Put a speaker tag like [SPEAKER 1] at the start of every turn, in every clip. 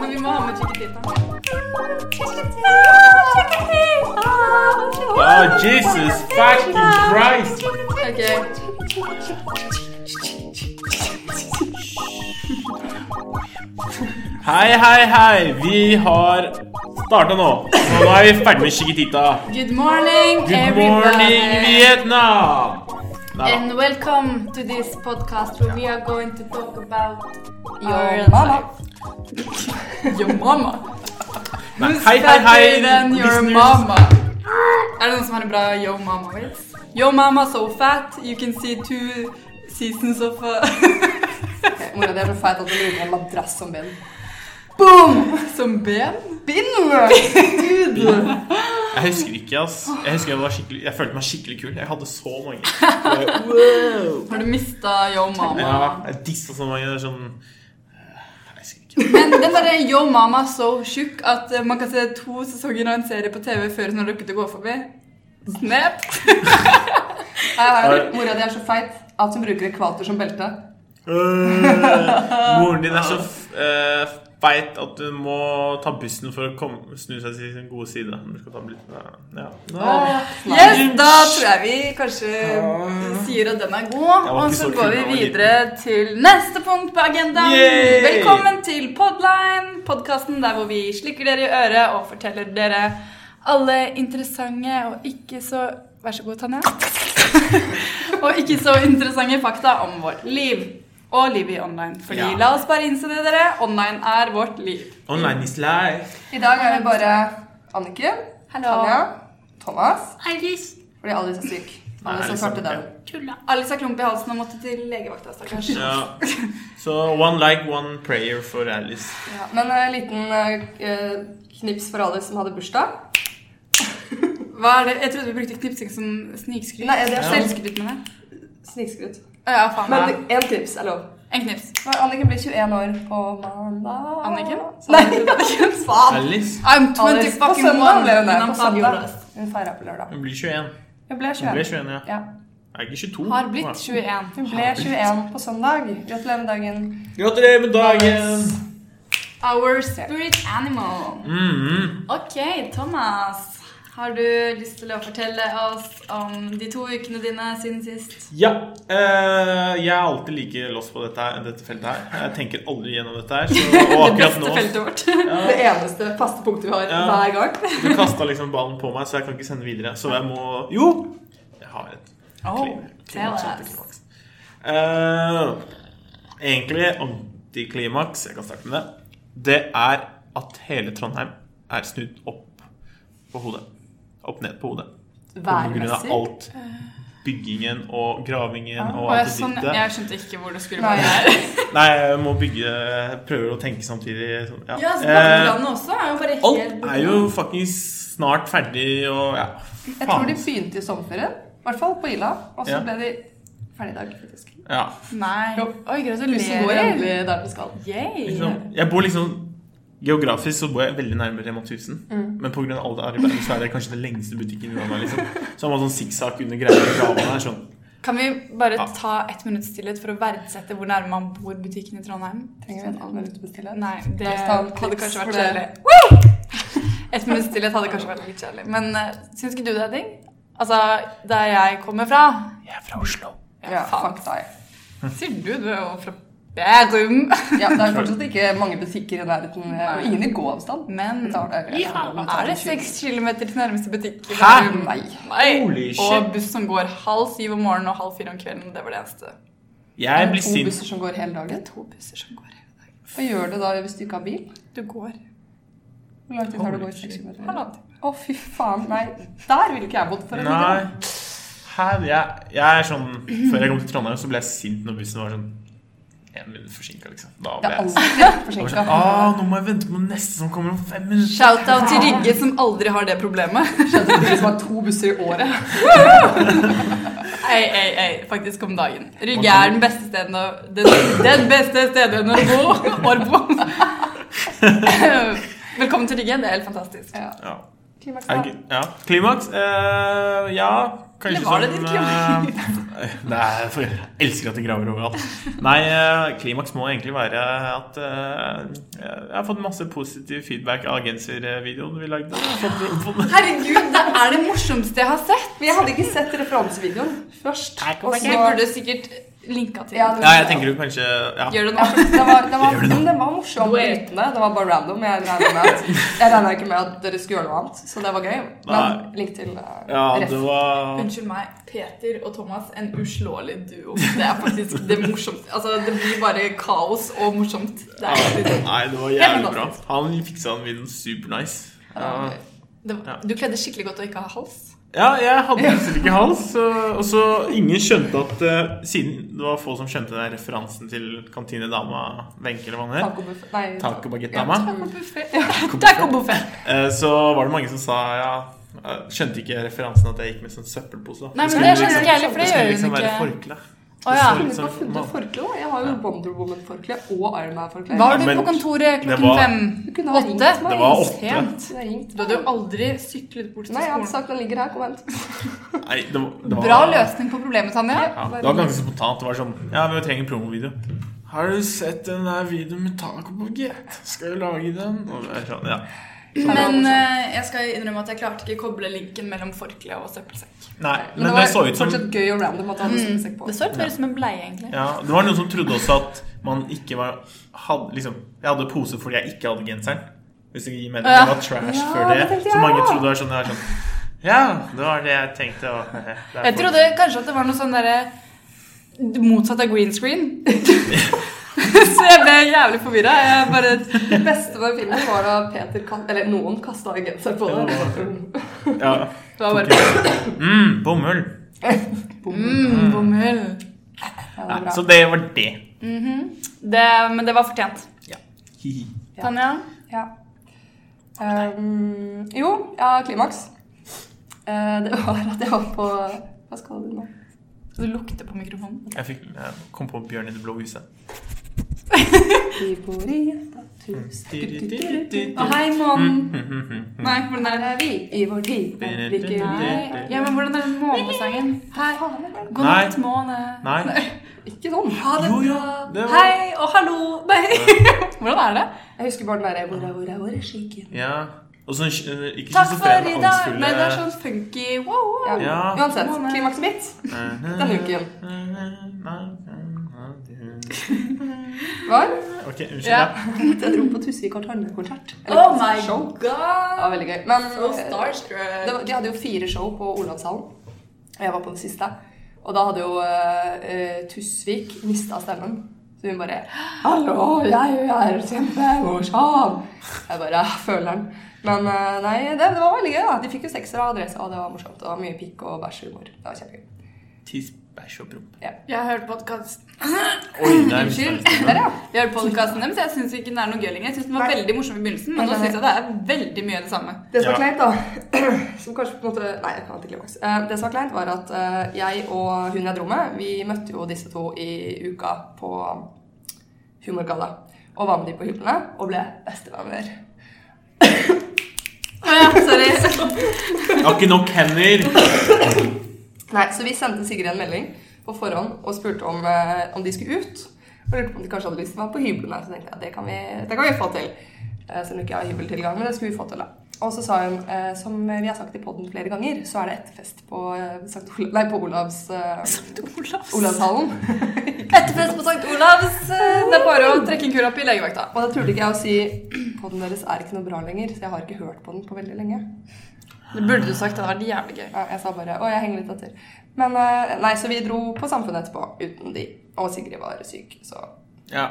[SPEAKER 1] Men vi må ha med Chiquitita.
[SPEAKER 2] Oh, Jesus fucking Christ!
[SPEAKER 1] Ok.
[SPEAKER 2] Hei, hei, hei! Vi har starta nå. Og nå er vi ferdig med Chiquitita.
[SPEAKER 1] Good morning,
[SPEAKER 2] Good
[SPEAKER 1] everybody.
[SPEAKER 2] morning, Vietnam! Nei da.
[SPEAKER 1] And welcome to this podcast where we are going to talk about
[SPEAKER 3] Your
[SPEAKER 1] our
[SPEAKER 3] mama.
[SPEAKER 1] life. your mama.
[SPEAKER 2] Nei,
[SPEAKER 1] Who's
[SPEAKER 2] hei, hei, hei!
[SPEAKER 1] better than your
[SPEAKER 2] listeners.
[SPEAKER 1] mama? Er det noen som har en bra Yo Mama-vits? Yo Mama so fat, you can see two seasons of uh,
[SPEAKER 3] Mora di er så feit at du ligner en madrass som bind.
[SPEAKER 1] Boom! Som ben.
[SPEAKER 3] Bind!
[SPEAKER 2] Jeg husker ikke, ass. Jeg husker jeg, var skikkelig, jeg følte meg skikkelig kul. Jeg hadde så mange.
[SPEAKER 1] Har du mista Yo Mama?
[SPEAKER 2] Ja, jeg dissa så mange. Det er sånn Jeg husker ikke.
[SPEAKER 1] Men den derre Yo Mama so tjukk at eh, man kan se to sesonger av en serie på TV før hun har rukket å gå forbi. Snap!
[SPEAKER 3] Mora di er så feit at hun bruker ekvator som belte.
[SPEAKER 2] Øh, moren din er så f- øh, feit at du må ta bussen for å komme, snu seg til sin gode side. Du skal ta bussen, ja. Ja.
[SPEAKER 1] Yes, da tror jeg vi kanskje sier at den er god.
[SPEAKER 2] Jeg var
[SPEAKER 1] Og
[SPEAKER 2] ikke
[SPEAKER 1] så
[SPEAKER 2] så kul
[SPEAKER 1] går vi
[SPEAKER 2] da jeg var
[SPEAKER 1] videre til neste punkt på agendaen.
[SPEAKER 2] Yay!
[SPEAKER 1] Velkommen til Podline, podkasten der hvor vi slikker dere i øret og forteller dere alle interessante og ikke så Vær så god, Tanja. og ikke så interessante fakta om vårt liv. Og livet i online. Fordi
[SPEAKER 2] Ja.
[SPEAKER 1] la oss bare innse det, dere. Online er vårt liv.
[SPEAKER 2] Online is life.
[SPEAKER 3] I dag er vi bare Anniken,
[SPEAKER 1] Hallo.
[SPEAKER 3] Tanja, Thomas
[SPEAKER 1] Alice.
[SPEAKER 3] Fordi Alice er syk.
[SPEAKER 2] Nei,
[SPEAKER 3] Alice har
[SPEAKER 2] Alice er
[SPEAKER 3] svarte den.
[SPEAKER 1] Alice har klump i halsen og måtte til legevakta, stakkars.
[SPEAKER 2] Ja. Så one like, one prayer for Alice.
[SPEAKER 3] Ja, men en liten eh, eh, knips for Alice som hadde bursdag.
[SPEAKER 1] Hva er det? Jeg trodde vi brukte knipsing som snikskryt.
[SPEAKER 3] Nei, det er
[SPEAKER 2] Ja.
[SPEAKER 1] Selvskryt, mener jeg.
[SPEAKER 3] Snikskryt.
[SPEAKER 1] Å Ja, faen.
[SPEAKER 3] Men
[SPEAKER 1] ja.
[SPEAKER 3] én knips er lov.
[SPEAKER 1] En knips.
[SPEAKER 3] Nei, Anniken blir 21 år på mandag.
[SPEAKER 1] Anniken?
[SPEAKER 3] Nei, Anniken, faen!
[SPEAKER 2] Alice?
[SPEAKER 1] I'm 20
[SPEAKER 3] Alice, på
[SPEAKER 1] fucking
[SPEAKER 3] søndag
[SPEAKER 1] one,
[SPEAKER 3] ble
[SPEAKER 1] men
[SPEAKER 3] hun det.
[SPEAKER 1] I'm
[SPEAKER 3] På søndag.
[SPEAKER 1] fabulous.
[SPEAKER 3] Hun feira på lørdag.
[SPEAKER 2] Hun blir 21.
[SPEAKER 3] Hun ble
[SPEAKER 2] Hun
[SPEAKER 3] 21.
[SPEAKER 2] ble 21, ja.
[SPEAKER 3] Ja.
[SPEAKER 2] Er ikke 22?
[SPEAKER 1] Har blitt 21.
[SPEAKER 3] Hun ble 21 på søndag. Gratulerer med dagen.
[SPEAKER 2] Gratulerer med dagen!
[SPEAKER 1] Our spirit animal.
[SPEAKER 2] Mhm.
[SPEAKER 1] Ok, Thomas. Har du lyst til å fortelle oss om de to ukene dine siden sist?
[SPEAKER 2] Ja. eh, jeg er alltid like lost på dette, her- dette feltet her. Jeg tenker aldri gjennom dette her. Så, og akkurat nå
[SPEAKER 1] feltet vårt.
[SPEAKER 3] Det eneste faste punktet vi har
[SPEAKER 2] Ja.
[SPEAKER 3] hver gang.
[SPEAKER 2] Du kasta liksom ballen på meg, så jeg kan ikke sende videre. Så jeg må Jo! Jeg har et
[SPEAKER 1] Oh,
[SPEAKER 2] klim-
[SPEAKER 1] tell
[SPEAKER 2] klimaks.
[SPEAKER 1] us.
[SPEAKER 2] antiklimaks. Eh, egentlig antiklimaks, jeg kan starte med det, det er at hele Trondheim er snudd opp på hodet. Opp ned på hodet. På grunn av
[SPEAKER 3] Værmessig.
[SPEAKER 2] alt byggingen og gravingen og
[SPEAKER 1] Og jeg,
[SPEAKER 2] alt det
[SPEAKER 1] sånn,
[SPEAKER 2] dritte.
[SPEAKER 1] jeg skjønte ikke hvor det skulle
[SPEAKER 3] Nei.
[SPEAKER 1] være. her.
[SPEAKER 2] Nei, jeg må bygge Prøver å tenke samtidig. sånn,
[SPEAKER 1] Ja, så
[SPEAKER 2] Eh,
[SPEAKER 1] Badelandet også er jo bare helt
[SPEAKER 2] Alt er jo faktisk snart ferdig og ja.
[SPEAKER 3] Jeg tror de begynte i sommerferien. I hvert fall på Ila. Og så
[SPEAKER 2] Ja.
[SPEAKER 3] ble de ferdig i dag, faktisk.
[SPEAKER 2] Ja.
[SPEAKER 1] Nei.
[SPEAKER 3] Jo.
[SPEAKER 1] Oi,
[SPEAKER 3] Huset går
[SPEAKER 1] gratulerer.
[SPEAKER 3] endelig der den skal.
[SPEAKER 1] Yay.
[SPEAKER 2] Liksom, jeg bor liksom Geografisk så bor jeg veldig nærmere Rema 1000.
[SPEAKER 3] Mm.
[SPEAKER 2] Men pga. all det arbeidet så er det kanskje den lengste butikken i landet. Liksom. Så han var sånn sikksakk under greia i gravene her. Sånn.
[SPEAKER 1] Kan vi bare
[SPEAKER 2] Ja.
[SPEAKER 1] ta ett minutts stillhet for å verdsette hvor nærme man bor butikken i Trondheim?
[SPEAKER 3] Trenger vi en halv minutt å bestille?
[SPEAKER 1] Nei, det
[SPEAKER 3] Da tar vi
[SPEAKER 1] hadde
[SPEAKER 3] klips
[SPEAKER 1] kanskje
[SPEAKER 3] for
[SPEAKER 1] vært kjedelig.
[SPEAKER 3] det.
[SPEAKER 1] Ett minutts stillhet hadde kanskje vært litt kjedelig. Men uh, syns ikke du det er digg? Altså, der jeg kommer fra
[SPEAKER 2] Jeg er fra Oslo.
[SPEAKER 3] Ja, fuck deg.
[SPEAKER 1] Sier du, du er jo fra Bærum.
[SPEAKER 3] Ja, det er fortsatt ikke mange butikker i nærheten. Og ingen i gåavstand.
[SPEAKER 1] Men
[SPEAKER 3] Vi tar Mm. det, greit. Vi tar
[SPEAKER 1] er det seks kilometer til nærmeste butikk? i
[SPEAKER 2] Hæ?
[SPEAKER 1] Bærum?
[SPEAKER 3] Nei.
[SPEAKER 1] Nei.
[SPEAKER 2] Holy shit.
[SPEAKER 1] Og buss som går halv syv om morgenen og halv fire om kvelden. Det var det eneste.
[SPEAKER 2] Jeg blir
[SPEAKER 3] To
[SPEAKER 2] sint.
[SPEAKER 3] busser som går hele dagen.
[SPEAKER 1] To busser som går hele dagen.
[SPEAKER 3] Hva gjør du da hvis du ikke har bil?
[SPEAKER 1] Du går
[SPEAKER 3] Hvor lang tid tar det å gå
[SPEAKER 2] Holy
[SPEAKER 3] i seks kilometer?
[SPEAKER 1] halvannen time.
[SPEAKER 3] Å, fy faen. Nei, der ville ikke jeg bodd. for å si det
[SPEAKER 2] Nei.
[SPEAKER 3] sånn.
[SPEAKER 2] Her, jeg, jeg er sånn Før jeg kom til Trondheim, så ble jeg sint når bussen var sånn en minutt forsinka, liksom. Da ble
[SPEAKER 3] Det er
[SPEAKER 2] jeg
[SPEAKER 3] alltid
[SPEAKER 2] jeg var
[SPEAKER 3] forsinka.
[SPEAKER 2] sånn, ah, nå må jeg vente på den neste som kommer om fem minutter.
[SPEAKER 1] Shout-out til Rygge, som aldri har det problemet.
[SPEAKER 3] Skjønte ikke som har to busser i året.
[SPEAKER 1] Ei, ei, ei, faktisk om dagen. Rygge er den beste stedet å, den, den beste stedet å bo. Årbo. Velkommen til Rygge. Det er helt fantastisk.
[SPEAKER 3] Ja.
[SPEAKER 2] Ja.
[SPEAKER 3] Klimaks
[SPEAKER 2] Er det
[SPEAKER 3] da.
[SPEAKER 2] ikke- Ja. Klimaks? eh, ja.
[SPEAKER 1] Eller var det
[SPEAKER 2] som,
[SPEAKER 1] ditt
[SPEAKER 2] eh, Nei, for jeg elsker at de graver overalt. Nei, eh, klimaks må egentlig være at eh, jeg har fått masse positiv feedback av genservideoen vi lagde. Jeg har fått- fått-
[SPEAKER 1] Herregud, det er det morsomste jeg har sett!
[SPEAKER 3] Men jeg hadde ikke sett referansevideoen først.
[SPEAKER 2] Nei, kom
[SPEAKER 3] Og
[SPEAKER 2] igjen.
[SPEAKER 1] Vi
[SPEAKER 3] så-
[SPEAKER 1] burde sikkert linka til
[SPEAKER 3] Ja,
[SPEAKER 1] det.
[SPEAKER 3] det-
[SPEAKER 2] Ja, jeg tenker du kanskje ja.
[SPEAKER 1] Gjør det nå.
[SPEAKER 3] Ja, for det var, det var,
[SPEAKER 2] Gjør det nå.
[SPEAKER 3] men det var morsomt
[SPEAKER 1] Weird.
[SPEAKER 3] uten det. Det var bare random. Jeg regna med at, jeg regnet ikke med at dere skulle gjøre noe annet, så det var gøy. Men
[SPEAKER 2] Nei.
[SPEAKER 3] link til eh,
[SPEAKER 2] Ja,
[SPEAKER 3] ref.
[SPEAKER 2] det var
[SPEAKER 1] Unnskyld meg, Peter og Thomas, en uslåelig duo. Det er faktisk det morsomste. Altså, det blir bare kaos og morsomt. Det
[SPEAKER 2] ja,
[SPEAKER 1] er
[SPEAKER 2] Nei, det var
[SPEAKER 1] Helt
[SPEAKER 2] jævlig bra.
[SPEAKER 1] fantastisk.
[SPEAKER 2] Han fiksa den videoen supernice. Ja.
[SPEAKER 1] Det var, du kledde skikkelig godt å ikke ha hals.
[SPEAKER 2] Ja, jeg hadde nesten ikke hals. så- Og så ingen skjønte at eh, Siden det var få som skjønte den referansen til kantinedama Wenche eller hva hun het,
[SPEAKER 3] Tacobuffé Nei.
[SPEAKER 2] tacobagettdama,
[SPEAKER 1] Tacobuffé.
[SPEAKER 2] eh, så var det mange som sa ja eh, Skjønte ikke referansen at jeg gikk med sånn søppelpose. da.
[SPEAKER 1] Nei, men
[SPEAKER 2] skulle
[SPEAKER 1] det
[SPEAKER 2] liksom-
[SPEAKER 1] skjønner ikke jeg heller, for det
[SPEAKER 2] skulle
[SPEAKER 1] gjør
[SPEAKER 2] liksom
[SPEAKER 1] hun
[SPEAKER 2] være
[SPEAKER 1] ikke.
[SPEAKER 2] forkle. liksom
[SPEAKER 1] Å ja.
[SPEAKER 3] Jeg har funnet
[SPEAKER 2] sånn,
[SPEAKER 3] forkle også. Jeg har jo Wonder Woman-forkle og Iron Man-forkle.
[SPEAKER 1] Var du
[SPEAKER 2] Ja, men
[SPEAKER 1] på kontoret
[SPEAKER 2] det
[SPEAKER 1] klokken
[SPEAKER 2] var-
[SPEAKER 1] fem?
[SPEAKER 3] Du kunne ha ringt
[SPEAKER 1] Åtte?
[SPEAKER 3] meg.
[SPEAKER 2] Det var åtte.
[SPEAKER 1] Sent.
[SPEAKER 3] Du har ringt
[SPEAKER 1] Du hadde jo aldri syklet bort til
[SPEAKER 3] Nei, jeg hadde
[SPEAKER 1] skolen.
[SPEAKER 3] sagt den ligger her. Kom og hent.
[SPEAKER 2] Nei, det var, det var,
[SPEAKER 1] Bra løsning på problemet, Tanja.
[SPEAKER 2] Ja, det var ganske spontant. Det var sånn Ja, vi trenger en promovideo. Har du sett den der videoen med tacobagett? Skal vi lage den? Og det er sånn, ja.
[SPEAKER 1] Men eh, jeg skal innrømme at jeg klarte ikke å koble linken mellom forkle og søppelsekk.
[SPEAKER 2] Nei, men, det, så ut som
[SPEAKER 3] fortsatt gøy og random
[SPEAKER 1] Mm.
[SPEAKER 3] at han hadde søppelsekk på.
[SPEAKER 1] Det så ut mer ut som en bleie, egentlig.
[SPEAKER 2] Ja, Det var noen som trodde også at man ikke var hadde, liksom, Jeg hadde pose fordi jeg ikke hadde genseren. Hvis det gir mening.
[SPEAKER 1] Ja.
[SPEAKER 2] Det var trash
[SPEAKER 3] Ja,
[SPEAKER 2] før
[SPEAKER 3] det
[SPEAKER 2] det.
[SPEAKER 3] tenkte jeg
[SPEAKER 2] Så mange
[SPEAKER 3] også.
[SPEAKER 2] trodde det var sånn, det var sånn Ja, det var det jeg tenkte. Og, det er
[SPEAKER 1] Jeg
[SPEAKER 2] folk-
[SPEAKER 1] trodde kanskje at det var noe sånn derre motsatt av green screen. Så jeg ble jævlig forvirra. Jeg bare
[SPEAKER 3] Det beste med filmen var da Peter kast, Eller noen kasta genser på
[SPEAKER 2] Ja,
[SPEAKER 3] det.
[SPEAKER 2] ja,
[SPEAKER 1] Det var bare
[SPEAKER 2] mm, Bomull.
[SPEAKER 1] mm, bomull.
[SPEAKER 3] Ja,
[SPEAKER 2] Nei,
[SPEAKER 3] det var bra.
[SPEAKER 2] så det var det.
[SPEAKER 1] Det, men det var fortjent.
[SPEAKER 2] Hihi.
[SPEAKER 3] Ja.
[SPEAKER 1] Tanja?
[SPEAKER 3] Ja. Um, jo, ja, klimaks. Eh, det var at jeg var på Hva skal du nå?
[SPEAKER 1] Du lukter på mikrofonen.
[SPEAKER 2] Jeg, fikk, jeg kom på Bjørn i det blå huset.
[SPEAKER 3] Vi bor i et godt hus.
[SPEAKER 1] Å, hei, månen. Nei, hvordan er
[SPEAKER 3] Her
[SPEAKER 1] det?
[SPEAKER 3] er vi i vår tid. Der drikker
[SPEAKER 1] Mm.
[SPEAKER 3] vi.
[SPEAKER 1] Nei. Ja, men hvordan er den månesangen? Hei.
[SPEAKER 3] Faen, det er
[SPEAKER 1] God
[SPEAKER 2] Nei.
[SPEAKER 1] natt, måne.
[SPEAKER 2] Nei.
[SPEAKER 3] Ikke sånn.
[SPEAKER 2] Jo, jo. Det var
[SPEAKER 1] Hei og hallo. Nei. Hvordan er det?
[SPEAKER 3] Jeg husker bare den derre hvor er, hvor er, hvor er skikken?
[SPEAKER 2] Ja. Og sånn eh, ikke
[SPEAKER 1] Takk for
[SPEAKER 2] schizofrene,
[SPEAKER 1] i dag.
[SPEAKER 2] angstfulle
[SPEAKER 1] Nei, det er sånn funky wow, wow.
[SPEAKER 3] Ja.
[SPEAKER 2] Ja.
[SPEAKER 3] Uansett, klimakset mitt denne uken var
[SPEAKER 2] Ok, unnskyld.
[SPEAKER 1] Ja.
[SPEAKER 2] Ja.
[SPEAKER 3] at jeg dro på Tusvik Hartane-konsert.
[SPEAKER 1] Oh my
[SPEAKER 3] show. Det
[SPEAKER 1] god!
[SPEAKER 3] var veldig gøy. Men
[SPEAKER 1] So
[SPEAKER 3] eh,
[SPEAKER 1] starstruck.
[SPEAKER 3] Det var, de hadde jo fire show på Olavshallen, og jeg var på det siste. Og da hadde jo eh, eh, Tusvik mista stemmen. Så hun bare 'Hallo, jeg er kjempemorsom!' Jeg bare «Ah, føler den. Men eh, nei, det, det var veldig gøy. da. De fikk jo sekser av adressa, og det var morsomt. Det var mye pikk og bæsjhumor. Det var kjempegøy.
[SPEAKER 2] Tiss, bæsj og promp.
[SPEAKER 1] Jeg har hørt podkast.
[SPEAKER 2] Oi, det er
[SPEAKER 1] Unnskyld.
[SPEAKER 2] mistanke.
[SPEAKER 3] Der, ja.
[SPEAKER 1] Jeg hørte podcasten deres, jeg syns ikke den er noe gøy lenger. Jeg synes den var
[SPEAKER 3] Nei.
[SPEAKER 1] veldig morsom i begynnelsen, men
[SPEAKER 3] Nei,
[SPEAKER 1] nå
[SPEAKER 3] nei,
[SPEAKER 1] syns jeg det er veldig mye av det samme.
[SPEAKER 3] Det som
[SPEAKER 2] Ja.
[SPEAKER 3] var kleint, da Som kanskje på en måte Nei, det var antiklimaks. Eh, Det som var kleint, var at eh, jeg og hun jeg dro med, vi møtte jo disse to i uka på Humorgalla. Og var med de på hyllene og ble bestevenner.
[SPEAKER 1] Å ja, sorry.
[SPEAKER 2] Jeg har ikke nok hender!
[SPEAKER 3] Nei, Så vi sendte Sigrid en melding på forhånd og spurte om, eh, om de skulle ut. Og lurte på om de kanskje hadde lyst til å være på hyblene. Så tenkte jeg det kan vi, det kan vi få til. Eh, Selv om ikke jeg har hybeltilgang, men det skulle vi få til, da. Og så sa hun, eh, som vi har sagt i poden flere ganger, så er det etterfest på, eh, Sankt Ola- nei, på Olavs eh,
[SPEAKER 1] Sankt Olavs.
[SPEAKER 3] Olavshallen.
[SPEAKER 1] Etterfest på Sankt Olavs. eh, Det er bare å trekke en kurapp i legevakta.
[SPEAKER 3] Og da turte ikke jeg å si podden deres er ikke noe bra lenger, så jeg har ikke hørt på den på veldig lenge.
[SPEAKER 1] Det burde du sagt. Det hadde vært jævlig gøy.
[SPEAKER 3] Ja, Jeg sa bare å, jeg henger litt etter. Men eh, nei, så vi dro på Samfunnet etterpå uten de. Og Sigrid var syk, så
[SPEAKER 2] Ja.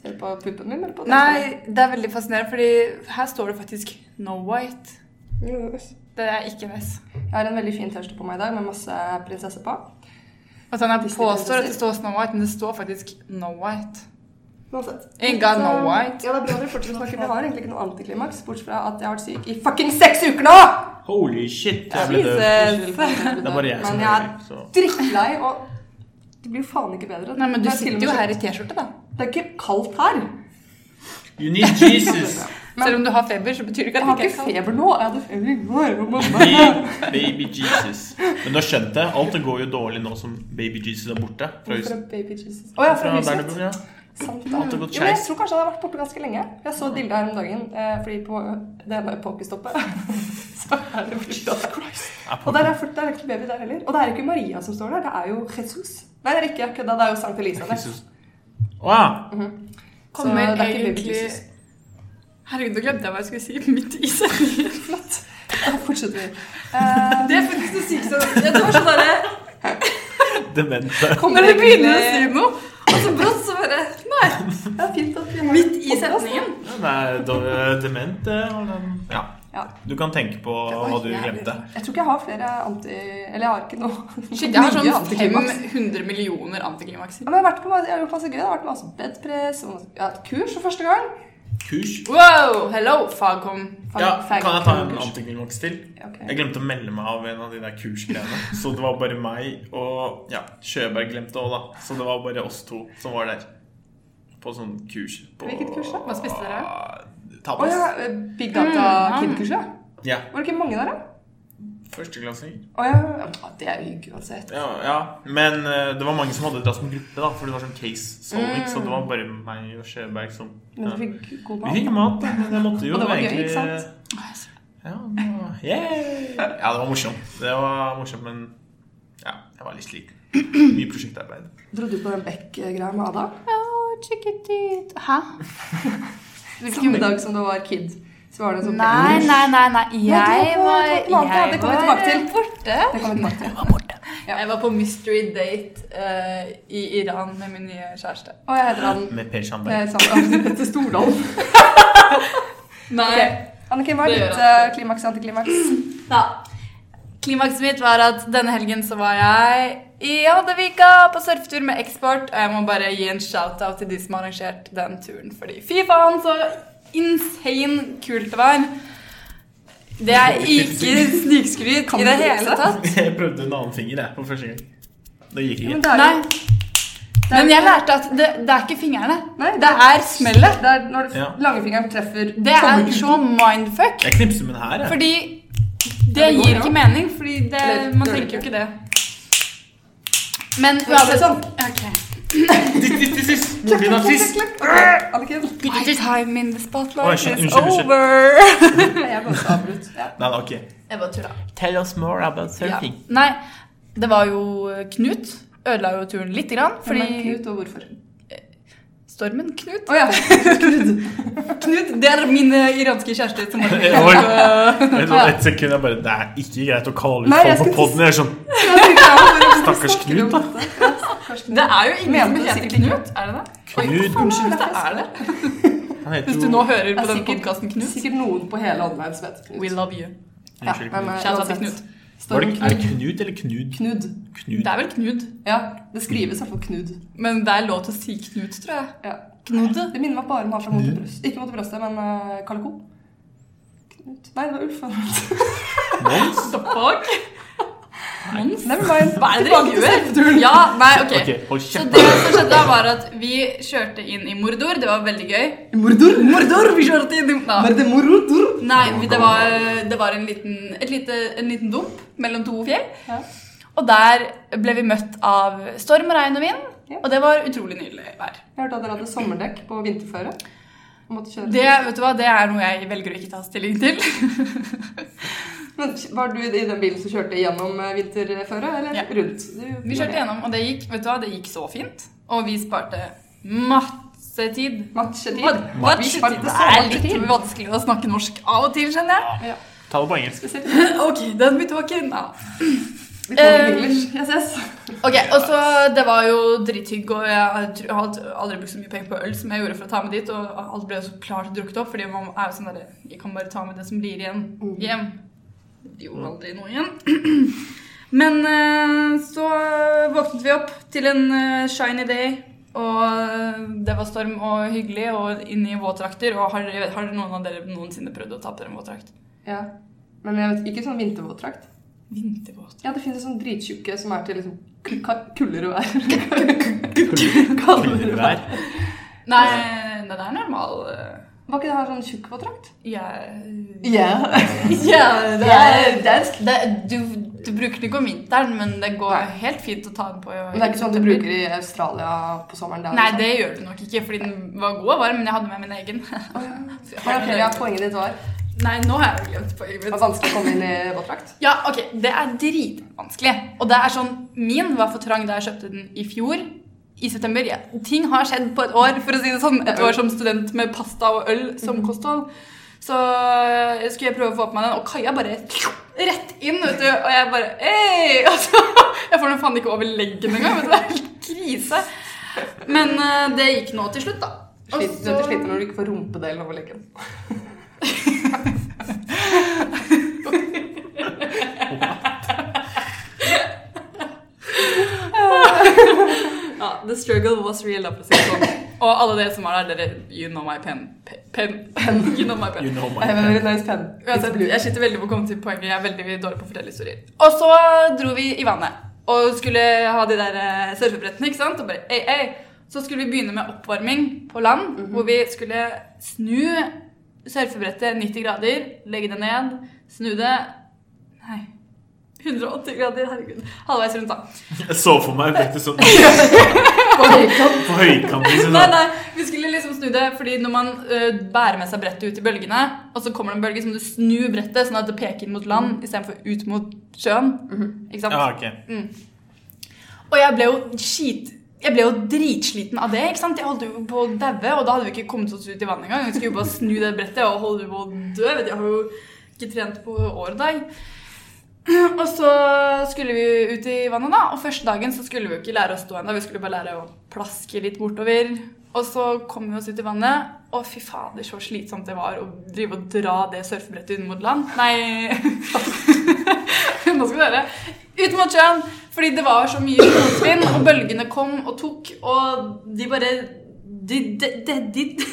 [SPEAKER 3] Ser du på puppen min eller på
[SPEAKER 1] Nei, det er veldig fascinerende, fordi her står det faktisk No White.
[SPEAKER 3] Yes.
[SPEAKER 1] Det er ikke en S.
[SPEAKER 3] Jeg har en veldig fin T-skjorte på meg i dag med masse prinsesser på.
[SPEAKER 1] Og sånn jeg påstår at det står Snow White, men det står faktisk No White.
[SPEAKER 3] Uansett.
[SPEAKER 1] Ain't got no white.
[SPEAKER 3] Ja, det er bra dere fortsetter å snakke. Vi har egentlig ikke noe antiklimaks, bortsett fra at jeg har vært syk i fucking seks uker nå!
[SPEAKER 2] Holy shit, jeg ble døv.
[SPEAKER 1] Jesus.
[SPEAKER 2] Det er bare jeg som
[SPEAKER 3] eh, Men jeg
[SPEAKER 2] er
[SPEAKER 3] er
[SPEAKER 2] så
[SPEAKER 3] drittlei, og det blir jo faen ikke bedre.
[SPEAKER 1] Nei, men du
[SPEAKER 3] Jeg har til og
[SPEAKER 1] sitter
[SPEAKER 3] med
[SPEAKER 1] jo
[SPEAKER 3] kjøpt-
[SPEAKER 1] her i T-skjorte, da.
[SPEAKER 3] Det er ikke kaldt her.
[SPEAKER 2] You need Jesus!
[SPEAKER 1] Selv om du har feber, så betyr det ikke
[SPEAKER 3] Jeg
[SPEAKER 1] at
[SPEAKER 3] har
[SPEAKER 1] det ikke
[SPEAKER 3] ikke
[SPEAKER 1] er kaldt.
[SPEAKER 3] feber nå. Jeg hadde feber i går. og mamma-
[SPEAKER 2] Baby Jesus. Men nå skjønte jeg. Alt går jo dårlig nå som Baby Jesus er borte. Fra
[SPEAKER 3] Hvorfor
[SPEAKER 2] huset.
[SPEAKER 3] er baby Jesus? Å ja, fra huset.
[SPEAKER 2] Bernebu, ja.
[SPEAKER 3] Sant det.
[SPEAKER 2] Alt har gått
[SPEAKER 3] Jo, men jeg
[SPEAKER 2] skeis.
[SPEAKER 3] tror kanskje han har vært borte ganske lenge. Jeg så et bilde her om dagen, eh, fordi på det ene pokestoppet Så er det Jesus Christ.
[SPEAKER 2] Er
[SPEAKER 3] Og der er, fullt- der er ikke baby der heller. Og det er ikke Maria som står der, det er jo Jesus. Nei, det er ikke jeg kødda, det er jo Sankt Elisa der.
[SPEAKER 2] Jesus. Å ja.
[SPEAKER 3] Så det
[SPEAKER 1] Kommer
[SPEAKER 3] er ikke baby
[SPEAKER 1] egentlig
[SPEAKER 3] Jesus.
[SPEAKER 1] Herregud, nå glemte jeg hva jeg skulle si midt i sendingen.
[SPEAKER 3] Flott. Da fortsetter vi. Eh,
[SPEAKER 1] Det er faktisk det sykeste jeg har hørt. Det var sånn derre
[SPEAKER 2] Demente.
[SPEAKER 1] Når du begynner å si
[SPEAKER 3] egentlig-
[SPEAKER 1] noe, og så brått så bare Nei.
[SPEAKER 3] Det er fint at vi har
[SPEAKER 1] Midt i setningen.
[SPEAKER 2] Ja, Nei, da- dement det var den- Ja.
[SPEAKER 3] Ja.
[SPEAKER 2] Du kan tenke på
[SPEAKER 3] Det var
[SPEAKER 2] hva du
[SPEAKER 3] jævlig
[SPEAKER 2] glemte.
[SPEAKER 3] rart. Jeg tror ikke jeg har flere anti... Eller jeg har ikke noe.
[SPEAKER 1] Shit, jeg har
[SPEAKER 3] Mye
[SPEAKER 1] sånn
[SPEAKER 3] antiklimaks.
[SPEAKER 1] 500 millioner antiklimakser.
[SPEAKER 3] Ja, men jeg har vært på masse, jeg har gjort masse gøy. Jeg har vært på masse bedpress og masse, jeg har hatt kurs for første gang.
[SPEAKER 2] Kurs.
[SPEAKER 1] Wow! Hello, fagkom.
[SPEAKER 2] Ja,
[SPEAKER 3] Fag-
[SPEAKER 2] kan jeg ta en
[SPEAKER 3] fagkurs.
[SPEAKER 2] antiklimaks til?
[SPEAKER 3] Ja, ok.
[SPEAKER 2] Jeg glemte å melde meg av en av de der kursgreiene. Så det var bare meg og ja, Sjøberg glemte òg, da. Så det var bare oss to som var der. På sånn kurs. På,
[SPEAKER 3] Hvilket kurs da?
[SPEAKER 1] Hva spiste
[SPEAKER 3] Å
[SPEAKER 2] Tapas.
[SPEAKER 3] ja, eh, Big Data
[SPEAKER 1] Mm,
[SPEAKER 3] Kid-kurset.
[SPEAKER 2] Ja.
[SPEAKER 3] Var det ikke mange der, da?
[SPEAKER 2] Førsteklassing.
[SPEAKER 3] Å ja, ja, det er jo hygge uansett.
[SPEAKER 2] Ja, ja. Men eh, det var mange som hadde dratt som gruppe, da, for det var sånn case solving. Så
[SPEAKER 3] Mm.
[SPEAKER 2] det var bare meg og Sjøberg som
[SPEAKER 3] Men
[SPEAKER 2] ja.
[SPEAKER 3] du fikk god
[SPEAKER 2] Vi
[SPEAKER 3] mat.
[SPEAKER 2] fikk mat, da, men jeg måtte jo
[SPEAKER 3] Og det var gøy,
[SPEAKER 2] egentlig
[SPEAKER 3] ikke sant?
[SPEAKER 2] Ja, det var- yeah. ja, det var morsomt. Det var morsomt, men ja, jeg var litt sliten. Mye prosjektarbeid.
[SPEAKER 3] Dro du på den Beck-greia med Ada?
[SPEAKER 1] Oh, check it out. Hæ?
[SPEAKER 3] Samme dag som du var kid. Så var det en sånn
[SPEAKER 1] Nei, nei, nei. nei. Jeg
[SPEAKER 3] det var-
[SPEAKER 1] var
[SPEAKER 3] det var- det kommer vi tilbake til.
[SPEAKER 1] eh, borte.
[SPEAKER 3] Det kommer vi tilbake til. Ja.
[SPEAKER 1] Jeg var på mystery date eh, i Iran med min nye kjæreste.
[SPEAKER 3] Å, jeg heter han
[SPEAKER 2] Med Per Sandberg.
[SPEAKER 3] eh, sånn, Petter Stordalen.
[SPEAKER 1] Nei.
[SPEAKER 3] Anniken, hva er
[SPEAKER 1] Det gjør
[SPEAKER 3] ditt
[SPEAKER 1] han.
[SPEAKER 3] eh, klimaks og antiklimaks?
[SPEAKER 1] Ja. Klimakset mitt var at denne helgen så var jeg i Hadevika på surfetur med Eksport. Og jeg må bare gi en shout-out til de som har arrangert den turen. Fordi fy faen, så insane kult det var. Det er ikke snikskryt
[SPEAKER 3] Kan
[SPEAKER 1] i det
[SPEAKER 3] du
[SPEAKER 1] hele
[SPEAKER 3] lese?
[SPEAKER 1] tatt.
[SPEAKER 2] Jeg prøvde en annen finger jeg, på første gang. Det gikk
[SPEAKER 3] Men
[SPEAKER 2] ikke.
[SPEAKER 3] det er
[SPEAKER 1] Nei.
[SPEAKER 3] jo- det er
[SPEAKER 1] Men
[SPEAKER 3] jo-
[SPEAKER 1] jeg lærte at det, det er ikke fingrene.
[SPEAKER 3] Nei,
[SPEAKER 1] Det er smellet.
[SPEAKER 3] Det er når
[SPEAKER 2] Ja.
[SPEAKER 3] langfingeren treffer
[SPEAKER 1] Det er
[SPEAKER 3] tommelkuken.
[SPEAKER 1] så mindfuck.
[SPEAKER 2] Jeg knipser med den her. Jeg.
[SPEAKER 1] Fordi
[SPEAKER 3] Ja,
[SPEAKER 1] det
[SPEAKER 3] det går,
[SPEAKER 1] gir
[SPEAKER 3] ja.
[SPEAKER 1] ikke mening. Fordi det,
[SPEAKER 3] Eller,
[SPEAKER 1] man
[SPEAKER 3] gjør det
[SPEAKER 1] tenker jo
[SPEAKER 3] ikke.
[SPEAKER 1] ikke det. Men
[SPEAKER 3] Gjør det sånn.
[SPEAKER 1] Ok.
[SPEAKER 2] Tiss, tiss, tiss, tiss. Moren din er frisk.
[SPEAKER 3] Ok, Anniken.
[SPEAKER 1] My time in the
[SPEAKER 2] Oi,
[SPEAKER 1] spotlight
[SPEAKER 2] unnskyld,
[SPEAKER 1] is
[SPEAKER 2] unnskyld, unnskyld.
[SPEAKER 1] over.
[SPEAKER 3] Jeg ble også avbrutt. Ja.
[SPEAKER 2] Nei, det er ok.
[SPEAKER 1] Jeg bare tulla.
[SPEAKER 2] Tell us more about
[SPEAKER 1] Ja. Nei, det var jo Knut. Ødela jo turen lite grann.
[SPEAKER 3] Fordi...
[SPEAKER 1] Fordi
[SPEAKER 3] Knut, og hvorfor?
[SPEAKER 1] Stormen Knut.
[SPEAKER 3] Å ja.
[SPEAKER 1] Knut, Det er min eh, iranske kjæreste. som var
[SPEAKER 2] Oi. Vet du, Et sekund jeg bare Det er ikke greit å kalle ut
[SPEAKER 3] Nei, jeg
[SPEAKER 2] folk på
[SPEAKER 3] skulle
[SPEAKER 2] poden. Jeg er sånn Stakkars Knut, da.
[SPEAKER 1] Det er jo ingen
[SPEAKER 3] Mener
[SPEAKER 1] som
[SPEAKER 3] du
[SPEAKER 1] heter
[SPEAKER 3] sikkert
[SPEAKER 1] Knut. Er det det?
[SPEAKER 2] Knut.
[SPEAKER 1] Unnskyld, det er det.
[SPEAKER 2] Han heter
[SPEAKER 1] Hvis du
[SPEAKER 2] jo
[SPEAKER 1] nå hører på
[SPEAKER 3] Jeg er
[SPEAKER 1] den
[SPEAKER 3] sikkert-
[SPEAKER 1] podkasten,
[SPEAKER 3] Det er
[SPEAKER 1] Knut.
[SPEAKER 3] sikkert noen på hele online som heter Knut.
[SPEAKER 1] We love you.
[SPEAKER 3] Ja,
[SPEAKER 2] Unnskyld,
[SPEAKER 3] men, eh,
[SPEAKER 2] Knut.
[SPEAKER 1] Shout out til
[SPEAKER 3] uansett.
[SPEAKER 1] Knut.
[SPEAKER 2] Var
[SPEAKER 3] Står
[SPEAKER 2] det,
[SPEAKER 3] det
[SPEAKER 2] er det
[SPEAKER 3] Knut?
[SPEAKER 2] Knut eller Knud?
[SPEAKER 3] Knud.
[SPEAKER 2] Knut.
[SPEAKER 1] Det er vel Knud,
[SPEAKER 3] Ja, det skrives i hvert fall Knud.
[SPEAKER 1] men det er lov til å si Knut, tror jeg.
[SPEAKER 3] Ja.
[SPEAKER 1] Knudde.
[SPEAKER 3] Det minner meg bare om han fra Mot i brøstet. Ikke Mot i brøstet, men eh, Kalle Co. Knut. Nei, det var Ulf.
[SPEAKER 2] Mons?
[SPEAKER 1] Stopp bak. Mons.
[SPEAKER 3] Never mind.
[SPEAKER 1] Hva er det dere gjør? Ja, nei, ok.
[SPEAKER 2] Ok, hold
[SPEAKER 1] Så
[SPEAKER 2] kjeft.
[SPEAKER 1] det som skjedde da var at vi kjørte inn i Mordor. Det var veldig gøy.
[SPEAKER 3] Mordor?
[SPEAKER 1] Mordor! Vi kjørte inn i ja.
[SPEAKER 3] Er det Mordor?
[SPEAKER 1] Nei, vi- det var, det var en, liten, et lite, en liten dump mellom to fjell.
[SPEAKER 3] Ja.
[SPEAKER 1] Og der ble vi møtt av storm, regn og vind.
[SPEAKER 3] Ja.
[SPEAKER 1] Og det var utrolig nydelig vær.
[SPEAKER 3] Jeg hørte at dere hadde sommerdekk på vinterføre. Og måtte kjøre.
[SPEAKER 1] Det, vet du hva, det er noe jeg velger å ikke ta stilling til.
[SPEAKER 3] Men Var du i den bilen som kjørte gjennom eh, vinterføre, eller
[SPEAKER 1] Ja.
[SPEAKER 3] rundt? Du,
[SPEAKER 1] Vi kjørte gjennom, og det gikk, vet du hva, det gikk så fint. Og vi sparte masse tid.
[SPEAKER 3] Matchetid.
[SPEAKER 1] Hva- hva-
[SPEAKER 3] Vi
[SPEAKER 1] Det
[SPEAKER 3] sparte
[SPEAKER 1] er
[SPEAKER 3] sommertid.
[SPEAKER 1] litt vanskelig å snakke norsk av og til, skjønner jeg.
[SPEAKER 3] Ja.
[SPEAKER 2] Ta det på engelsk.
[SPEAKER 3] Spesielt
[SPEAKER 1] Ok, den blir tåken. Ja.
[SPEAKER 3] Vi kommer
[SPEAKER 1] Eh,
[SPEAKER 3] i English. Jeg ses.
[SPEAKER 1] Ok, og så Det var jo drithygg, og jeg har tr- hadde aldri brukt så mye penger på øl som jeg gjorde for å ta med dit. Og alt ble jo så klart drukket opp, fordi man er jo sånn derre Jeg kan bare ta med det som blir igjen hjem. Det gjorde aldri noe igjen. Men eh, så våknet vi opp til en eh, shiny day, og eh, det var storm og hyggelig, og inne i våtdrakter. Og har, har noen av dere noensinne prøvd å ta på dere en våtdrakt?
[SPEAKER 3] Ja. Men jeg vet ikke sånn vintervåtdrakt.
[SPEAKER 1] Vintervåt.
[SPEAKER 3] Ja, det finnes sånn drittjukke som er til liksom k- ka- kulder og vær. Kalder og vær.
[SPEAKER 2] Kuldervær.
[SPEAKER 1] Nei, den er normal. eh,
[SPEAKER 3] Var ikke det her sånn tjukkpådrakt?
[SPEAKER 1] Jeg
[SPEAKER 3] Ja.
[SPEAKER 1] Ja, det er
[SPEAKER 3] dansk.
[SPEAKER 1] det, du, du bruker den ikke om vinteren, men det går helt fint å ta den på.
[SPEAKER 3] Men det er ikke sånn du bruker altså? i Australia på sommeren? Der,
[SPEAKER 1] Nei, det gjør du nok ikke, fordi den var god og varm, men jeg hadde med min egen. Så jeg har
[SPEAKER 3] Men ok, Altså,
[SPEAKER 1] den.
[SPEAKER 3] liksom- ja, Poenget ditt var det
[SPEAKER 1] Nei, nå har jeg glemt poenget
[SPEAKER 3] var
[SPEAKER 1] mitt.
[SPEAKER 3] vanskelig å komme inn i våtdrakt.
[SPEAKER 1] Ja, ok, det er dritvanskelig. Og det er sånn, min var for trang da jeg kjøpte den i fjor, i september. Ja, ting har skjedd på et år, for å si det sånn. Et år som student med pasta og øl som kosthold. Så eh, skulle jeg prøve å få på meg den, og Kaja bare rett inn, vet du. Og jeg bare, «Ei!» Og så, jeg får den faen ikke over leggen engang, vet du. Det er helt krise. Men eh, det gikk nå til slutt, da. Og
[SPEAKER 3] Sliter,
[SPEAKER 1] så-
[SPEAKER 3] Du sliter når du ikke får rumpedelen over leggen.
[SPEAKER 1] Ja, the struggle was real, da, for å si det sånn. Og alle dere som var der, dere You know my pen. Pe- pen. You know my
[SPEAKER 2] You
[SPEAKER 1] pen.
[SPEAKER 2] know my
[SPEAKER 3] I have a very nice pen. It's
[SPEAKER 1] Uansett,
[SPEAKER 3] blue.
[SPEAKER 1] jeg sliter veldig med å komme til poenget. Jeg er veldig dårlig på å fortelle historier. Og så dro vi i vannet og skulle ha de der eh, surfebrettene, ikke sant? Og bare, ei, ei. Så skulle vi begynne med oppvarming på land, hvor vi skulle snu surfebrettet 90 grader, legge det ned, snu det Nei. 180 grader, herregud. Halvveis rundt, da.
[SPEAKER 2] Jeg så for meg dette sånn
[SPEAKER 3] Oi,
[SPEAKER 2] på høykant. Liksom.
[SPEAKER 1] Nei, nei, vi skulle liksom snu det, fordi når man ø, bærer med seg brettet ut i bølgene, og så kommer det en bølge, så må du snu brettet sånn at det peker inn mot land istedenfor ut mot sjøen. Ikke sant?
[SPEAKER 2] Ja, ok.
[SPEAKER 1] Og jeg ble jo skit... Jeg ble jo dritsliten av det. ikke sant? Jeg holdt jo på å daue, og da hadde vi ikke kommet oss ut i vannet engang. Vi skulle jo bare snu det brettet og holde på å dø. Vet du, Jeg har jo ikke trent på år og dag. Og så skulle vi ut i vannet, da. Og første dagen så skulle vi jo ikke lære å stå ennå. Vi skulle bare lære å plaske litt bortover. Og så kom vi oss ut i vannet, og fy fader, så slitsomt det var å drive og dra det surfebrettet inn mot land. Nei Nå skal du høre. Ut mot sjøen. Fordi det var så mye motvind, og bølgene kom og tok, og de bare De, de, de, de,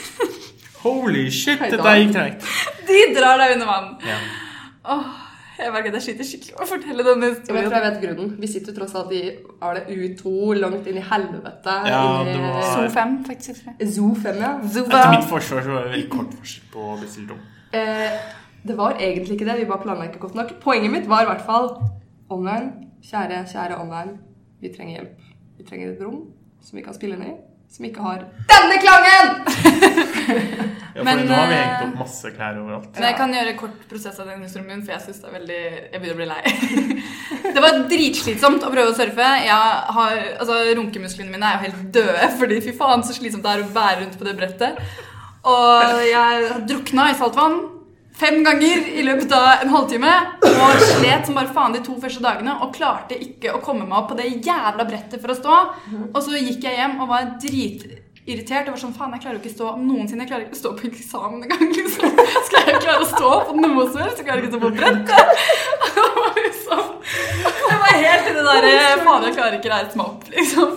[SPEAKER 2] Holy shit, dette gikk tregt.
[SPEAKER 1] de drar deg under vann.
[SPEAKER 2] Ja.
[SPEAKER 1] Åh, jeg merker at jeg sliter skikkelig med å fortelle denne
[SPEAKER 3] men jeg tror
[SPEAKER 1] historien.
[SPEAKER 3] jeg vet grunnen. Vi sitter tross alt i er det U2, langt inn i helvete.
[SPEAKER 2] Ja,
[SPEAKER 3] inn i-
[SPEAKER 2] det var-
[SPEAKER 1] Zoo 5, faktisk.
[SPEAKER 3] Zoo 5, ja.
[SPEAKER 2] Etter
[SPEAKER 1] Zuba.
[SPEAKER 2] mitt forsvar så var det veldig kort varsel på å bestille rom.
[SPEAKER 3] Eh, det var egentlig ikke det, vi bare planla ikke godt nok. Poenget mitt var i hvert fall online. Kjære, kjære online. Vi trenger hjelp. Vi trenger et rom som vi kan spille ned i, som ikke har denne klangen!
[SPEAKER 2] Ja, for
[SPEAKER 1] Men,
[SPEAKER 2] nå har vi hengt
[SPEAKER 1] eh,
[SPEAKER 2] opp masse klær overalt.
[SPEAKER 1] Men jeg kan gjøre kort prosess av den historien min, for jeg synes det er veldig Jeg begynner å bli lei. Det var dritslitsomt å prøve å surfe. Jeg har, altså, Runkemusklene mine er jo helt døde, fordi fy faen så slitsomt det er å være rundt på det brettet. Og jeg drukna i saltvann fem ganger i løpet av en halvtime. Og slet som bare faen de to første dagene og klarte ikke å komme meg opp på det jævla brettet for å stå. Og så gikk jeg hjem og var dritirritert. Og var sånn, faen, jeg klarer jo ikke stå noensinne. Jeg klarer ikke å stå på eksamen engang. Liksom. Skal jeg klare å stå på noe som helst? Jeg klarer ikke å stå på brettet. Det var liksom, jeg var helt i det derre Faen, jeg klarer ikke å reise meg opp, liksom.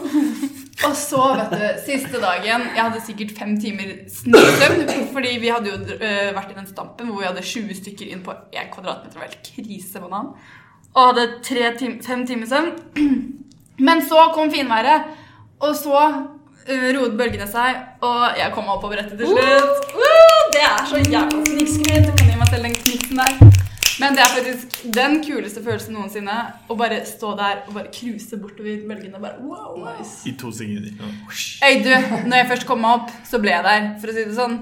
[SPEAKER 1] Og så, vet du, siste dagen Jeg hadde sikkert fem timer snøsøvn. Fordi vi hadde jo øh, vært i den stampen hvor vi hadde 20 stykker inn på 1 kvadratmeter. Det var helt krisebanan. Og hadde tre tim fem timer søvn. Men så kom finværet, og så øh, roet bølgene seg, og jeg kom meg opp på brettet til slutt. Uh, det er så jævla snikskritt. Jeg kan gi meg selv den kniksen der. Men det er faktisk den kuleste følelsen noensinne. Å bare stå der og bare cruise bortover bølgene. og Bare, wow, wow.
[SPEAKER 2] I to sekunder. Ja. Husj.
[SPEAKER 1] Øy, du, når jeg først kom meg opp, så ble jeg der, for å si det sånn.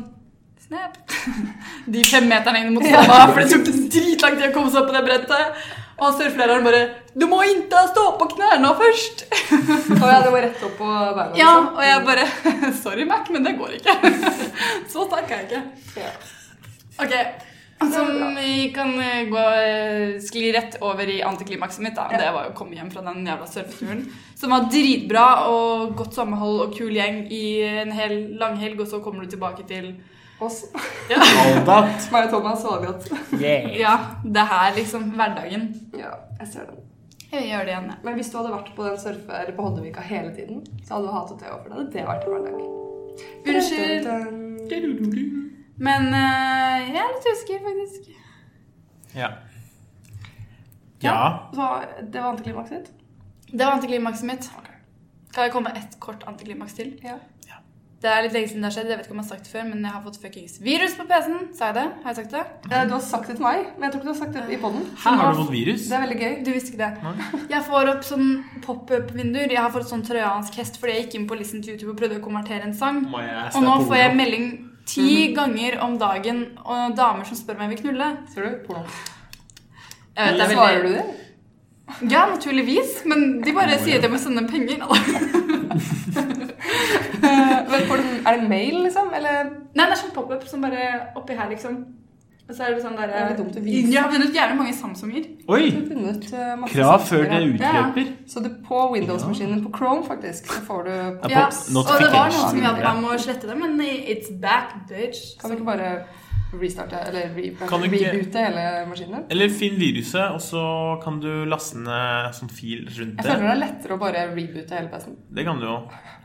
[SPEAKER 1] Snap. De fem meterne inn mot stamma, for det tok dritlang tid å komme seg opp på det brettet. Og han surfelæreren bare 'Du må inte stå på knærne først'.
[SPEAKER 3] Å ja, det var rett opp på beina.
[SPEAKER 1] Ja,
[SPEAKER 3] liksom.
[SPEAKER 1] og jeg bare 'Sorry, Mac, men det går ikke'. Så sterk er jeg ikke.
[SPEAKER 3] Ja.
[SPEAKER 1] Ok, som vi kan eh, gå, eh, skli rett over i antiklimakset mitt, da.
[SPEAKER 3] Ja.
[SPEAKER 1] Det var jo å komme hjem fra den jævla surfeturen. Som var dritbra og godt samhold og kul gjeng i en hel langhelg, og så kommer du tilbake til
[SPEAKER 3] Oss.
[SPEAKER 2] All that.
[SPEAKER 3] Meg og Thomas var det godt.
[SPEAKER 1] Ja, det her, liksom. Hverdagen.
[SPEAKER 3] Ja, jeg ser den.
[SPEAKER 1] Jeg gjør det igjen, jeg.
[SPEAKER 3] Men hvis du hadde vært på den surfer eller på Hoddevika hele tiden, så hadde du hatet det òg, for da hadde det vært en hverdag.
[SPEAKER 1] Unnskyld. Men eh, jeg er litt usikker, faktisk.
[SPEAKER 2] Ja. Ja.
[SPEAKER 3] Så det var antiklimakset ditt?
[SPEAKER 1] Det var antiklimakset mitt. Skal jeg komme med ett kort antiklimaks til?
[SPEAKER 3] Ja.
[SPEAKER 1] Det er litt lenge siden det har skjedd, jeg vet ikke om jeg har sagt det før, men jeg har fått fuckings virus på PC-en. Sa jeg det? Har jeg sagt det?
[SPEAKER 3] Eh, Du har sagt det til meg, men jeg tror ikke du har sagt det i poden.
[SPEAKER 2] Her har du fått virus.
[SPEAKER 3] Det er veldig gøy.
[SPEAKER 1] Du visste ikke det. Jeg får opp sånn pop-up-vinduer. Jeg har fått sånn trojansk hest fordi jeg gikk inn på Listen to YouTube og prøvde å konvertere en sang.
[SPEAKER 2] My ass,
[SPEAKER 1] Og
[SPEAKER 2] det er
[SPEAKER 1] nå
[SPEAKER 2] porno.
[SPEAKER 1] får jeg melding ti ganger om dagen og damer som spør meg om jeg vil knulle.
[SPEAKER 3] Ser du? Porno.
[SPEAKER 1] Jeg vet, det er veldig...
[SPEAKER 3] Eh, Svarer du det?
[SPEAKER 1] Ja, naturligvis. Men de bare sier at jeg må sende dem penger.
[SPEAKER 3] Eh, Men får du, er det mail, liksom? Eller
[SPEAKER 1] Nei, det er sånn pop-up som bare oppi her, liksom. Og så er det sånn der
[SPEAKER 3] Det er litt dumt å vise.
[SPEAKER 1] Jeg har vunnet jævlig mange Samsunger.
[SPEAKER 2] Oi!
[SPEAKER 3] Du har funnet eh, masse
[SPEAKER 2] Krav
[SPEAKER 3] saker,
[SPEAKER 2] før det
[SPEAKER 3] ja.
[SPEAKER 2] utløper.
[SPEAKER 3] Så du på Windows-maskinen, på Chrome faktisk, så får du
[SPEAKER 2] Ja,
[SPEAKER 1] Ja, og det var
[SPEAKER 2] pop-
[SPEAKER 1] noen
[SPEAKER 2] notifications.
[SPEAKER 1] som hjalp
[SPEAKER 2] Ja.
[SPEAKER 1] meg med å slette det, men it's back, bitch.
[SPEAKER 3] Kan vi ikke bare restarte, eller re
[SPEAKER 2] Kan du ikke-
[SPEAKER 3] reboote hele maskinen?
[SPEAKER 2] Eller finn viruset, og så kan du laste ned sånn fil rundt
[SPEAKER 3] Jeg
[SPEAKER 2] det.
[SPEAKER 3] føler det er lettere å bare reboote hele PC-en.
[SPEAKER 2] Det kan du jo.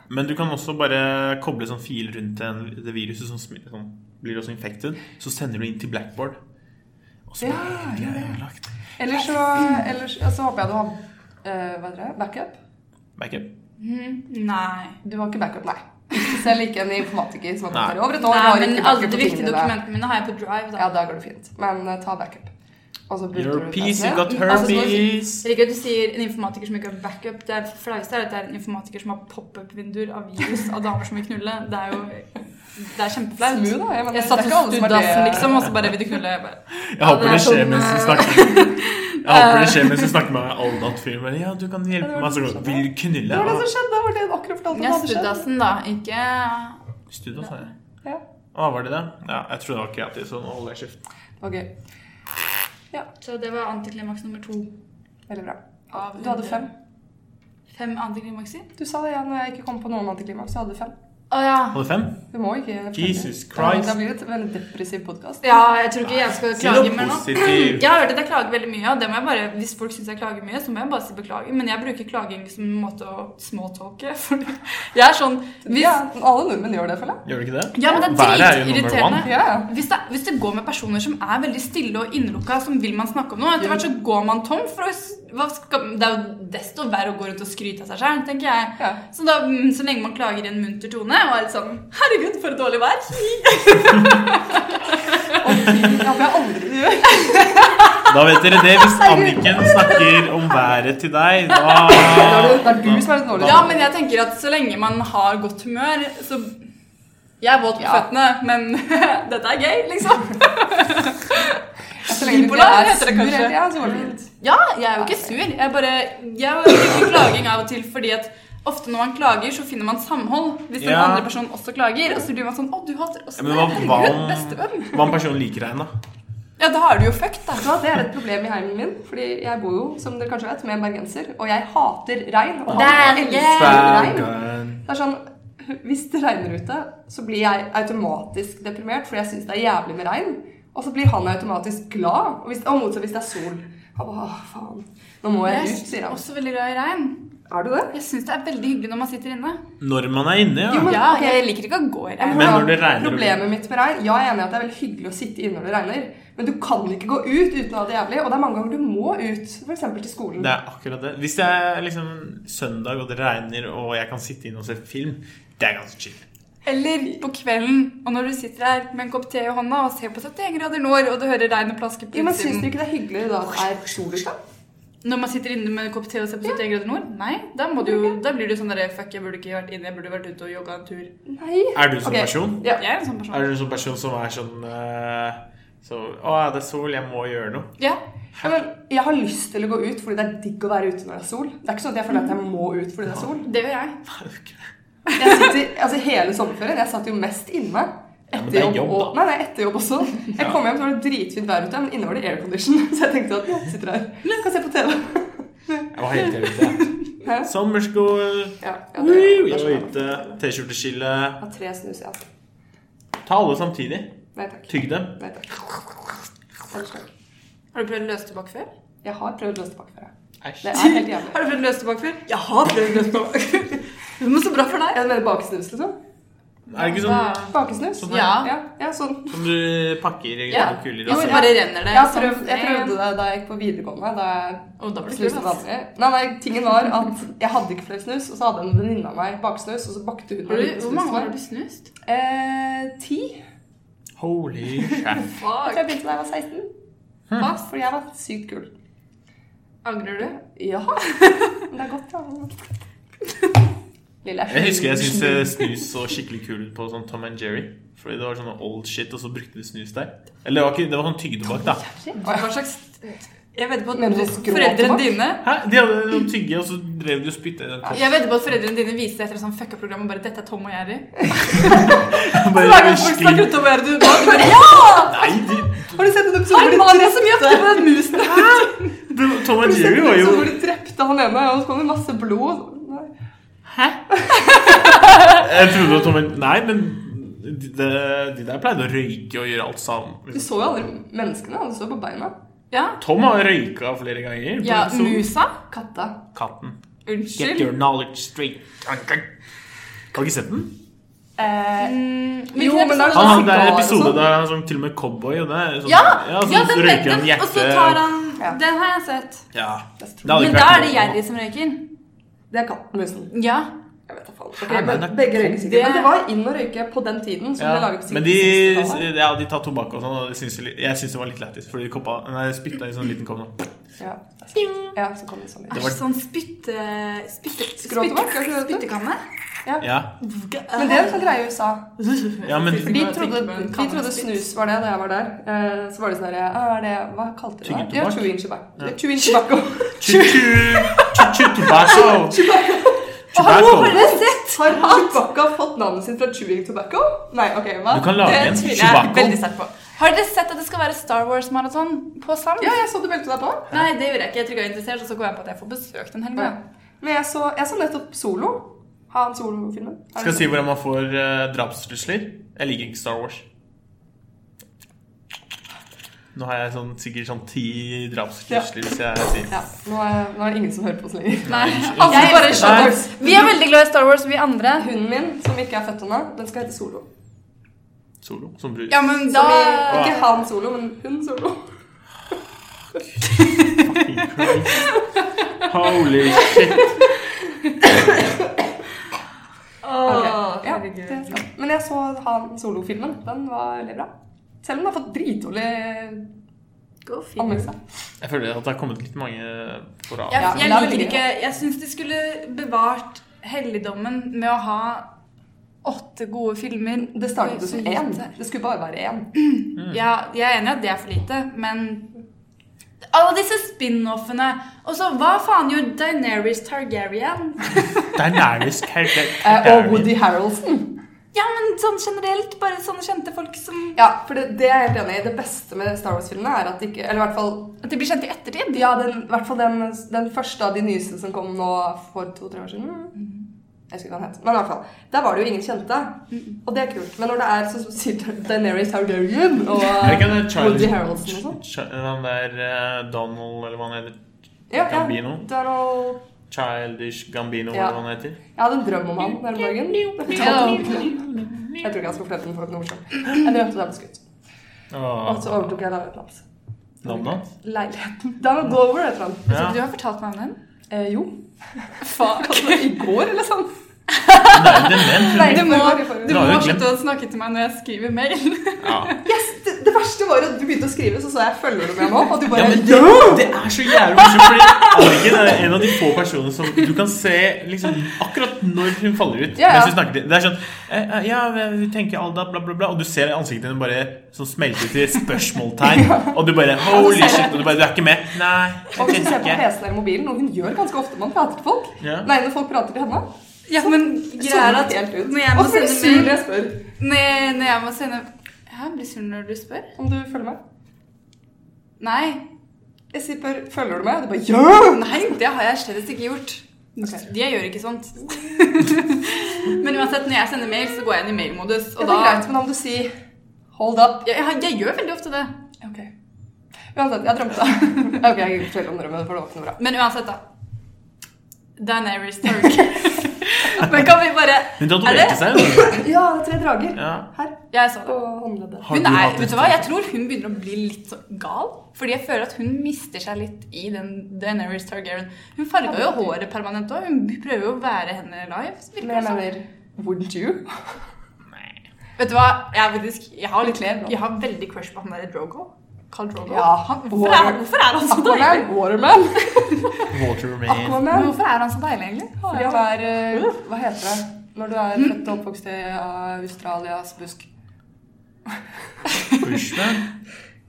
[SPEAKER 2] Men du kan også bare koble sånn fil rundt en, det viruset som smi- sånn, blir også infected. Så sender du inn til blackboard. Og så
[SPEAKER 3] Ja,
[SPEAKER 2] blir det ødelagt.
[SPEAKER 3] Eller så, eller så, så håper jeg du har eh, hva heter det, backup.
[SPEAKER 2] Backup.
[SPEAKER 1] Mhm. Nei.
[SPEAKER 3] Du har ikke backup, nei. Selv ikke en informatiker som har
[SPEAKER 2] Nei.
[SPEAKER 3] gått her i over et år.
[SPEAKER 1] Nei,
[SPEAKER 3] har
[SPEAKER 1] men
[SPEAKER 3] ikke
[SPEAKER 1] alle
[SPEAKER 3] backup
[SPEAKER 1] de
[SPEAKER 3] på
[SPEAKER 1] viktige
[SPEAKER 3] tingene dine.
[SPEAKER 1] dokumentene mine har jeg på drive, da.
[SPEAKER 3] Ja, da går det fint. Men eh, ta backup. Og så bruker
[SPEAKER 2] Your
[SPEAKER 3] du
[SPEAKER 2] piece, you
[SPEAKER 3] PC-en.
[SPEAKER 2] got
[SPEAKER 1] Altså, sånn-
[SPEAKER 2] herpes.
[SPEAKER 1] Jeg liker at du sier en informatiker som ikke har backup. Det er flaueste er at det er en informatiker som har pop-up-vinduer av virus av damer som vil knulle. Det er jo Det er kjempeflaut.
[SPEAKER 3] Smooth, da. Jeg, mener,
[SPEAKER 1] Jeg satt
[SPEAKER 3] det er ikke alle
[SPEAKER 1] og
[SPEAKER 3] som er
[SPEAKER 1] studdassen,
[SPEAKER 3] det-
[SPEAKER 1] liksom, og så bare vil du knulle? Jeg bare,
[SPEAKER 2] Jeg håper det skjer mens du snakker Jeg håper det skjer mens du snakker med Aldat-filmen. Ja, du kan hjelpe meg. Så går det, Vil du
[SPEAKER 3] Det var det
[SPEAKER 2] knulle? Ah,
[SPEAKER 3] som skjedde. Det var det du akkurat
[SPEAKER 1] ja,
[SPEAKER 3] fortalte om. det hadde skjedd.
[SPEAKER 1] studdassen, da. Ikke
[SPEAKER 2] Studio, sa jeg.
[SPEAKER 3] Ja.
[SPEAKER 2] Å, var det det? Ja, jeg tror det var kreativt, så nå holder jeg kjeft.
[SPEAKER 3] Det var gøy.
[SPEAKER 1] Så det var antiklimaks nummer to.
[SPEAKER 3] Veldig bra.
[SPEAKER 1] Av
[SPEAKER 3] Du hadde fem.
[SPEAKER 1] Fem antiklimakser?
[SPEAKER 3] Du sa det igjen når jeg ikke kom på noen antiklimaks. Du hadde fem.
[SPEAKER 1] Å ja.
[SPEAKER 2] Hadde fem?
[SPEAKER 3] Du må ikke
[SPEAKER 2] Jesus
[SPEAKER 3] Ja,
[SPEAKER 2] Christ.
[SPEAKER 3] Det blir et veldig depressiv podkast.
[SPEAKER 1] Ja, jeg tror ikke jeg skal
[SPEAKER 2] Si noe
[SPEAKER 1] klage mer nå.
[SPEAKER 2] positivt.
[SPEAKER 1] Jeg har hørt at jeg klager veldig mye, og det må jeg bare, hvis folk syns jeg klager mye, så må jeg bare si beklager. Men jeg bruker klaging som en måte å småtalke. For jeg er sånn hvis,
[SPEAKER 3] Ja, alle nordmenn gjør det, føler jeg.
[SPEAKER 2] Gjør du ikke det?
[SPEAKER 1] Ja, men det
[SPEAKER 2] Været er
[SPEAKER 1] er
[SPEAKER 2] jo number
[SPEAKER 1] dritirriterende.
[SPEAKER 2] one.
[SPEAKER 3] Ja, ja.
[SPEAKER 1] Hvis det, hvis det går med personer som er veldig stille og innelukka, som vil man snakke om noe, etter hvert så går man tom. For å, s- hva skal, det er jo desto verre å gå rundt og skryte av seg sjøl, tenker jeg.
[SPEAKER 3] Ja.
[SPEAKER 1] Så da, mm, så lenge man klager i en munter tone og er litt sånn 'Herregud, for et dårlig vær'.
[SPEAKER 3] Det håper jeg aldri du gjør.
[SPEAKER 2] Da vet dere det. Hvis Anniken snakker om været til deg, da
[SPEAKER 3] Det er du- det er du som er den dårlige.
[SPEAKER 1] Ja, men jeg tenker at så lenge man har godt humør, så Jeg er våt på
[SPEAKER 3] Ja.
[SPEAKER 1] føttene, men dette er gøy, liksom.
[SPEAKER 3] Så lenge du ikke
[SPEAKER 1] bipolar
[SPEAKER 3] er
[SPEAKER 1] heter det
[SPEAKER 3] sur
[SPEAKER 1] kanskje.
[SPEAKER 3] hele tida, så går det fint.
[SPEAKER 1] Ja, jeg er jo ikke sur. Jeg bare Jeg bruker klaging av og til fordi at ofte når man klager, så finner man samhold. Hvis den
[SPEAKER 2] Ja.
[SPEAKER 1] andre personen også klager, og så blir man sånn 'Å, du hater også
[SPEAKER 2] Ja, men hva,
[SPEAKER 1] det.
[SPEAKER 2] hva,
[SPEAKER 1] Herregud, bestevenn'.
[SPEAKER 2] om, hva om personen liker deg, da?
[SPEAKER 1] Ja, da er du jo fucked, da.
[SPEAKER 3] Vet du hva, Det er et problem i heimen min, Fordi jeg bor jo, som dere kanskje vet, med en bergenser. Og jeg hater regn. Og
[SPEAKER 1] Der,
[SPEAKER 3] jeg
[SPEAKER 1] yeah.
[SPEAKER 3] elsker regn. Det er sånn, Hvis det regner ute, så blir jeg automatisk deprimert, fordi jeg syns det er jævlig med regn. Og så blir han automatisk glad. Og, hvis, og motsatt hvis det er sol. Han bare, Åh, faen. Nå må jeg ut, sier
[SPEAKER 1] Jeg er
[SPEAKER 3] han.
[SPEAKER 1] også veldig glad i regn.
[SPEAKER 3] Er du det?
[SPEAKER 1] Jeg syns det er veldig hyggelig når man sitter inne.
[SPEAKER 2] Når man er inne,
[SPEAKER 3] Jo,
[SPEAKER 2] ja.
[SPEAKER 3] men-
[SPEAKER 1] Ja,
[SPEAKER 3] ok.
[SPEAKER 1] jeg liker ikke å gå i regn.
[SPEAKER 2] Men når det regner og-
[SPEAKER 3] Problemet mitt med regn Ja, jeg er enig i at det er veldig hyggelig å sitte inne når det regner, men du kan ikke gå ut uten å ha det jævlig. Og det er mange ganger du må ut, f.eks. til skolen.
[SPEAKER 2] Det er akkurat det. Hvis det er liksom søndag og det regner og jeg kan sitte inne og se film, det er ganske chill.
[SPEAKER 1] Eller på kvelden, og når du sitter her med en kopp te i hånda og ser på 71 grader nord, og du hører regn og plaske på
[SPEAKER 3] Jo, men Syns
[SPEAKER 1] utsiden.
[SPEAKER 3] du ikke det er hyggelig da at det er sol ute?
[SPEAKER 1] Når man sitter inne med en kopp te og ser på 71 grader nord? Nei, da, må du, jo- da blir du sånn derre Fuck, jeg burde ikke vært inne, jeg burde vært ute og jogga en tur.
[SPEAKER 3] Nei.
[SPEAKER 2] Er du sånn
[SPEAKER 3] Ok.
[SPEAKER 2] person?
[SPEAKER 3] Ja.
[SPEAKER 1] Jeg er en sånn person.
[SPEAKER 2] Er du en sånn person som er sånn eh, så, Å, det er sol, jeg må gjøre noe.
[SPEAKER 1] Ja.
[SPEAKER 3] Ja, men jeg har lyst til å gå ut fordi det er digg å være ute når det er sol. Det er ikke sånn at jeg føler at jeg må ut fordi det er sol.
[SPEAKER 1] Det gjør jeg.
[SPEAKER 3] Jeg sitter, altså Hele sommerferien jeg satt jo mest inne.
[SPEAKER 2] Ja, men
[SPEAKER 3] Etter
[SPEAKER 2] det er
[SPEAKER 3] jobb,
[SPEAKER 2] jobb,
[SPEAKER 3] og,
[SPEAKER 2] da.
[SPEAKER 3] nei, nei, etter jobb også. Jeg kom hjem, så var det dritfint vær ute, men inne var det aircondition. Så jeg tenkte at jeg sitter her, kan se på TV.
[SPEAKER 2] Jeg var helt ute.
[SPEAKER 3] Hæ?
[SPEAKER 2] Sommerskål.
[SPEAKER 3] Ja, ja, det,
[SPEAKER 2] Woo!
[SPEAKER 3] det
[SPEAKER 2] Jeg
[SPEAKER 3] er
[SPEAKER 2] var
[SPEAKER 3] sånn.
[SPEAKER 2] ute. T-skjorteskille.
[SPEAKER 3] Jeg har tre snus, jeg. altså.
[SPEAKER 2] Ta alle samtidig.
[SPEAKER 3] Nei takk.
[SPEAKER 2] Tygg dem.
[SPEAKER 3] Nei takk. Ellers takk.
[SPEAKER 1] Har du prøvd løstebakk før?
[SPEAKER 3] Jeg har prøvd løstepakk før. jeg.
[SPEAKER 2] Æsj.
[SPEAKER 3] Det er helt jævlig.
[SPEAKER 1] Har du prøvd løstebakk før? Jeg har prøvd løstebakk. Men så bra for deg.
[SPEAKER 3] Jeg mener bakesnus, liksom.
[SPEAKER 2] Er det ikke
[SPEAKER 1] Da-
[SPEAKER 2] sånn
[SPEAKER 3] Bakesnus?
[SPEAKER 2] Sånn,
[SPEAKER 1] ja.
[SPEAKER 3] Ja, ja, sånn.
[SPEAKER 2] som du pakker i
[SPEAKER 3] Ja.
[SPEAKER 2] noen kuler? altså.
[SPEAKER 1] Og
[SPEAKER 2] og
[SPEAKER 1] så
[SPEAKER 2] så-
[SPEAKER 1] bare renner det.
[SPEAKER 3] Jeg, har
[SPEAKER 1] sånn
[SPEAKER 3] prøvd, jeg
[SPEAKER 1] ned.
[SPEAKER 3] prøvde det da jeg gikk på videregående. Da jeg
[SPEAKER 1] Og da ble det
[SPEAKER 3] Snus
[SPEAKER 1] kul,
[SPEAKER 3] til
[SPEAKER 1] ass.
[SPEAKER 3] vanlig. Nei, nei, tingen var at jeg hadde ikke flere snus, og så hadde en venninne av meg baksnus, og så bakte hun
[SPEAKER 1] Har du,
[SPEAKER 3] meg
[SPEAKER 1] hvor mange år har du snust?
[SPEAKER 3] Eh, ti.
[SPEAKER 2] Holy crap.
[SPEAKER 3] Jeg tror jeg begynte da jeg var 16.
[SPEAKER 1] Fast.
[SPEAKER 3] Fordi jeg var sykt kul.
[SPEAKER 1] Angrer du?
[SPEAKER 3] Ja. Men det er godt, ja. Lille
[SPEAKER 2] Jeg husker jeg syntes eh, snus så skikkelig kul ut på sånn Tom and Jerry. Fordi det var sånn old shit, og så brukte de snus der. Eller det var, ikke, det var sånn tyggedobakk, da.
[SPEAKER 1] Hva slags Jeg vedder på
[SPEAKER 3] Mener du
[SPEAKER 1] at
[SPEAKER 3] skrå
[SPEAKER 1] foreldrene
[SPEAKER 3] tobakk?
[SPEAKER 1] dine
[SPEAKER 2] Hæ? De hadde noen tygge, og så drev de og spytta i den koppen.
[SPEAKER 1] Jeg vedder på at foreldrene dine viste deg etter et sånt fucka-program og bare 'Dette er Tom og Jerry'.
[SPEAKER 2] Bare
[SPEAKER 1] Hver gang folk
[SPEAKER 2] skli-
[SPEAKER 1] snakker om Tom og Jerry, du bare, du bare Ja!
[SPEAKER 2] Nei, de,
[SPEAKER 3] Har du sett en
[SPEAKER 1] Det
[SPEAKER 3] episode
[SPEAKER 1] er
[SPEAKER 3] hvor de
[SPEAKER 1] Maria som jakter på den musen.
[SPEAKER 2] det, Tom
[SPEAKER 3] Har
[SPEAKER 2] and
[SPEAKER 3] du sett
[SPEAKER 2] Jerry
[SPEAKER 3] en
[SPEAKER 2] var jo
[SPEAKER 3] episode hvor de drepte han ene, og så kom det masse blod? Nei.
[SPEAKER 1] Hæ?
[SPEAKER 2] Jeg trodde at Tom and Nei, men de, de- de der pleide å røyke og gjøre alt sammen.
[SPEAKER 3] Du så jo aldri menneskene, og du så på beina.
[SPEAKER 1] Ja.
[SPEAKER 2] Tom har røyka flere ganger. på
[SPEAKER 1] ja
[SPEAKER 2] episode.
[SPEAKER 1] musa?
[SPEAKER 3] Katta.
[SPEAKER 2] Katten. Get
[SPEAKER 1] Unnskyld.
[SPEAKER 2] your knowledge straight. Har du ikke sett den?
[SPEAKER 3] Eh,
[SPEAKER 1] Mm,
[SPEAKER 3] jo, men da er
[SPEAKER 2] Han,
[SPEAKER 3] det sånn
[SPEAKER 2] han, det er en
[SPEAKER 3] sigarer og
[SPEAKER 2] episode
[SPEAKER 3] sånn.
[SPEAKER 2] der han er sånn, til og med cowboy. Og det er sånn,
[SPEAKER 1] Ja!
[SPEAKER 2] så
[SPEAKER 1] ja den
[SPEAKER 2] røyker han
[SPEAKER 1] vet
[SPEAKER 2] hjerte.
[SPEAKER 1] Og så tar han
[SPEAKER 3] Ja.
[SPEAKER 1] Den har jeg sett.
[SPEAKER 2] ja.
[SPEAKER 3] Jeg
[SPEAKER 2] Det
[SPEAKER 3] tror-
[SPEAKER 2] sånn. hadde
[SPEAKER 1] Men
[SPEAKER 2] ikke
[SPEAKER 1] da
[SPEAKER 2] vært
[SPEAKER 1] er det
[SPEAKER 2] noe.
[SPEAKER 1] Jerry som røyker.
[SPEAKER 3] Det er kattemusen.
[SPEAKER 1] Ja.
[SPEAKER 3] Jeg vet da faen.
[SPEAKER 2] Hæ,
[SPEAKER 3] Okay,
[SPEAKER 2] men
[SPEAKER 3] men,
[SPEAKER 2] det er-
[SPEAKER 3] begge røyker sikkert.
[SPEAKER 1] Det-
[SPEAKER 3] Men det var inn å røyke på den tiden. som
[SPEAKER 2] Ja.
[SPEAKER 3] det laget på
[SPEAKER 2] Men
[SPEAKER 3] sikkert
[SPEAKER 2] de,
[SPEAKER 3] 60-tallet.
[SPEAKER 2] ja, de tar tobakk og sånn, og det syns jeg, litt- jeg syns det var litt lættis. Fordi de koppa, nei, spytta i sånn liten kopp sånn.
[SPEAKER 3] Ja, ja så kom det sånn
[SPEAKER 1] Det var
[SPEAKER 2] Det var-
[SPEAKER 1] sånn spytte... spytte
[SPEAKER 3] Skråtobakk, er ikke det det heter?
[SPEAKER 1] Spyttekanne?
[SPEAKER 2] Ja.
[SPEAKER 3] Men det er en sånn greie i USA.
[SPEAKER 2] Ja, men-
[SPEAKER 3] For de trodde, de trodde snus var det da jeg var der. Eh, Så var det sånn der, ja, er det, Hva kalte de det?
[SPEAKER 2] Tyggetobakk?
[SPEAKER 3] Ja, chewing tobacco.
[SPEAKER 2] Ja.
[SPEAKER 3] Chewing tobacco.
[SPEAKER 2] Chu-chu tobacco.
[SPEAKER 1] Hallo,
[SPEAKER 2] Tobacco.
[SPEAKER 1] har dere sett?
[SPEAKER 3] Har tobacco fått navnet sitt fra chewing tobacco? Nei, ok, hva?
[SPEAKER 2] Du kan lage
[SPEAKER 1] Det
[SPEAKER 2] en
[SPEAKER 1] tviler jeg veldig
[SPEAKER 2] tobacco.
[SPEAKER 1] sterkt på. Har dere sett at det skal være Star Wars-maraton på Sand?
[SPEAKER 3] Ja, jeg så du meldte deg på.
[SPEAKER 1] Nei, det gjorde jeg ikke. Jeg tror ikke jeg var interessert, og så kom jeg på at jeg får besøk den helga.
[SPEAKER 3] Ja. Men jeg så, jeg så nettopp Solo. Har han Solo-filmen? Er
[SPEAKER 2] Skal
[SPEAKER 3] det-
[SPEAKER 2] jeg si hvordan man får eh, drapstrusler? Jeg liker ikke Star Wars. Nå har jeg sånn, sikkert sånn ti drapstrusler hvis jeg sier
[SPEAKER 3] Ja, nå er, nå er det ingen som hører på oss lenger.
[SPEAKER 1] Nei.
[SPEAKER 3] Altså,
[SPEAKER 1] Jeg
[SPEAKER 3] bare
[SPEAKER 1] elsker
[SPEAKER 3] Star
[SPEAKER 1] Star
[SPEAKER 3] Wars.
[SPEAKER 1] Wars. Vi er veldig glad i Star Wars, vi andre.
[SPEAKER 3] Hunden min, som ikke er født ennå, den skal hete Solo.
[SPEAKER 2] solo. Som brus.
[SPEAKER 1] Ja, men
[SPEAKER 3] Da...
[SPEAKER 1] da
[SPEAKER 3] ikke han solo, men hun solo.
[SPEAKER 2] Holy shit.
[SPEAKER 3] Ok, ja,
[SPEAKER 1] herregud.
[SPEAKER 3] det skal. Men jeg så han solo-filmen. Den var veldig bra. Selv om den har fått dritdårlig
[SPEAKER 1] Gå fint.
[SPEAKER 3] anmeldelse.
[SPEAKER 2] Jeg føler at det har kommet litt mange på rad.
[SPEAKER 1] Jeg,
[SPEAKER 3] Ja,
[SPEAKER 1] jeg
[SPEAKER 3] la det
[SPEAKER 1] liker
[SPEAKER 3] ligge.
[SPEAKER 1] ikke Jeg syns de skulle bevart helligdommen med å ha åtte gode filmer.
[SPEAKER 3] Det startet jo
[SPEAKER 1] Så
[SPEAKER 3] som
[SPEAKER 1] lite.
[SPEAKER 3] én. Det skulle bare være én.
[SPEAKER 1] Ja,
[SPEAKER 2] Mm.
[SPEAKER 1] jeg er enig i at det er for lite, men alle disse spin-offene. Og så hva faen gjorde Daenerys Targaryen?
[SPEAKER 2] Det er nærmest
[SPEAKER 3] Eh, og Woody Harrelson.
[SPEAKER 1] Ja, men sånn generelt, bare sånne kjente folk som
[SPEAKER 3] Ja, for det, det er jeg helt enig i. Det beste med Star Wars-filmene er at de ikke Eller i hvert fall
[SPEAKER 1] At de blir kjent i ettertid.
[SPEAKER 3] Ja, den, i hvert fall den, den første av de nyeste som kom nå for to-tre år siden. Jeg husker ikke hva den het. Men i hvert fall, der var det jo ingen kjente. Og det er kult. Men når det er sånn som sier Daenerys Targaryen og
[SPEAKER 2] Er ikke det
[SPEAKER 3] Woody
[SPEAKER 2] Charlie
[SPEAKER 3] Harrelson og sånn
[SPEAKER 2] Ch- Han der eh, Donald, eller hva han heter.
[SPEAKER 3] ja, ja.
[SPEAKER 2] Gambino?
[SPEAKER 3] Donald
[SPEAKER 2] Childish Gambino,
[SPEAKER 3] Ja.
[SPEAKER 2] eller hva han heter.
[SPEAKER 3] Jeg hadde en drøm om han der om dagen. Jeg tror ikke han skulle flytte den for noe morsomt. Jeg drømte det ble skutt. Og
[SPEAKER 2] Åh,
[SPEAKER 3] så overtok jeg leiligheten hans.
[SPEAKER 2] Navnet hans?
[SPEAKER 3] Leiligheten. Donald Glover, et eller annet.
[SPEAKER 1] Så
[SPEAKER 2] Ja.
[SPEAKER 1] du har fortalt meg om den?
[SPEAKER 3] Eh, jo.
[SPEAKER 1] Faen.
[SPEAKER 3] Altså, I går, eller sånn.
[SPEAKER 2] Men Det er jo dement.
[SPEAKER 3] Nei,
[SPEAKER 1] Du
[SPEAKER 3] det
[SPEAKER 1] må,
[SPEAKER 3] var i forrige
[SPEAKER 1] du
[SPEAKER 2] Da har
[SPEAKER 1] må
[SPEAKER 2] jeg glemt.
[SPEAKER 1] slutte å snakke til meg når jeg skriver mail.
[SPEAKER 2] Ja.
[SPEAKER 3] Yes, det, det verste var jo at du begynte å skrive, så så jeg følger du med nå. Og du bare
[SPEAKER 2] Ja, men det, det er så jævlig morsomt, fordi Argen er en av de få personene som du kan se liksom, akkurat når hun faller ut.
[SPEAKER 3] Ja, ja.
[SPEAKER 2] Mens hun snakker til Det er sånn eh, eh, Ja, vi tenker Alda, bla, bla, bla. Og du ser ansiktet hennes bare sånn smelte til spørsmålstegn. Og du bare Holy shit. Og du bare Du er ikke med? Nei.
[SPEAKER 3] Og hvis
[SPEAKER 2] Jeg
[SPEAKER 3] du ser
[SPEAKER 2] kjenner
[SPEAKER 3] på
[SPEAKER 2] ikke.
[SPEAKER 3] PC-en eller mobilen, noe hun gjør ganske ofte når man prater til folk
[SPEAKER 2] Ja.
[SPEAKER 3] Nei, når folk prater til henne.
[SPEAKER 1] Ja, men greia er
[SPEAKER 3] Sånn
[SPEAKER 1] at
[SPEAKER 3] helt ut.
[SPEAKER 1] når jeg må
[SPEAKER 3] Og så blir du
[SPEAKER 1] sende
[SPEAKER 3] sur
[SPEAKER 1] mail-
[SPEAKER 3] når jeg spør
[SPEAKER 1] Når, når jeg må sende Ja, blir sur når du spør?
[SPEAKER 3] om du følger med.
[SPEAKER 1] Nei.
[SPEAKER 3] Jeg sier bare 'følger du med?' Og du bare 'ja'!
[SPEAKER 1] Nei, det har jeg slett ikke gjort.
[SPEAKER 3] Ok.
[SPEAKER 1] Jeg gjør ikke sånt. Men uansett, når jeg sender mail, så går jeg inn i mailmodus, og
[SPEAKER 3] Ja, det er
[SPEAKER 1] da
[SPEAKER 3] greit, men da må du si 'hold up'.
[SPEAKER 1] jeg, jeg, jeg gjør veldig ofte det.
[SPEAKER 3] Ok. Uansett, jeg drømte. ok, jeg forteller om drømmen, for det var ikke noe bra.
[SPEAKER 1] Men uansett, da. Daenerys Targaryen Men kan vi bare
[SPEAKER 2] Hun
[SPEAKER 1] Er
[SPEAKER 2] tatoverte
[SPEAKER 1] det?
[SPEAKER 2] seg jo.
[SPEAKER 3] Ja, tre drager.
[SPEAKER 2] Ja.
[SPEAKER 3] Her.
[SPEAKER 1] Jeg så
[SPEAKER 3] På
[SPEAKER 1] det.
[SPEAKER 3] håndleddet.
[SPEAKER 2] Har
[SPEAKER 1] Hun
[SPEAKER 2] du
[SPEAKER 1] er,
[SPEAKER 2] hatt
[SPEAKER 1] vet
[SPEAKER 2] et
[SPEAKER 1] du hva, Jeg tror hun begynner å bli litt så gal. Fordi jeg føler at hun mister seg litt i den Daenerys Targaryen. Hun farga jo håret permanent òg. Hun prøver jo å være henne live. så virker
[SPEAKER 3] Men jeg
[SPEAKER 1] det som.
[SPEAKER 3] mener Wouldn't you?
[SPEAKER 1] Vet du hva, jeg, er faktisk, jeg, har, litt, jeg har veldig crush på han der Drogo. Carl Drogo.
[SPEAKER 3] Ja,
[SPEAKER 1] han, hvorfor, er, hvorfor er han så deilig?
[SPEAKER 3] Aquaman. Waterman.
[SPEAKER 2] Walter Remain.
[SPEAKER 1] Men
[SPEAKER 3] Aquaman.
[SPEAKER 1] hvorfor er han så deilig, egentlig?
[SPEAKER 3] Fordi han er eh,
[SPEAKER 1] Uh.
[SPEAKER 3] Hva heter det når du er født og oppvokst i eh, Australias busk?
[SPEAKER 2] Bushman.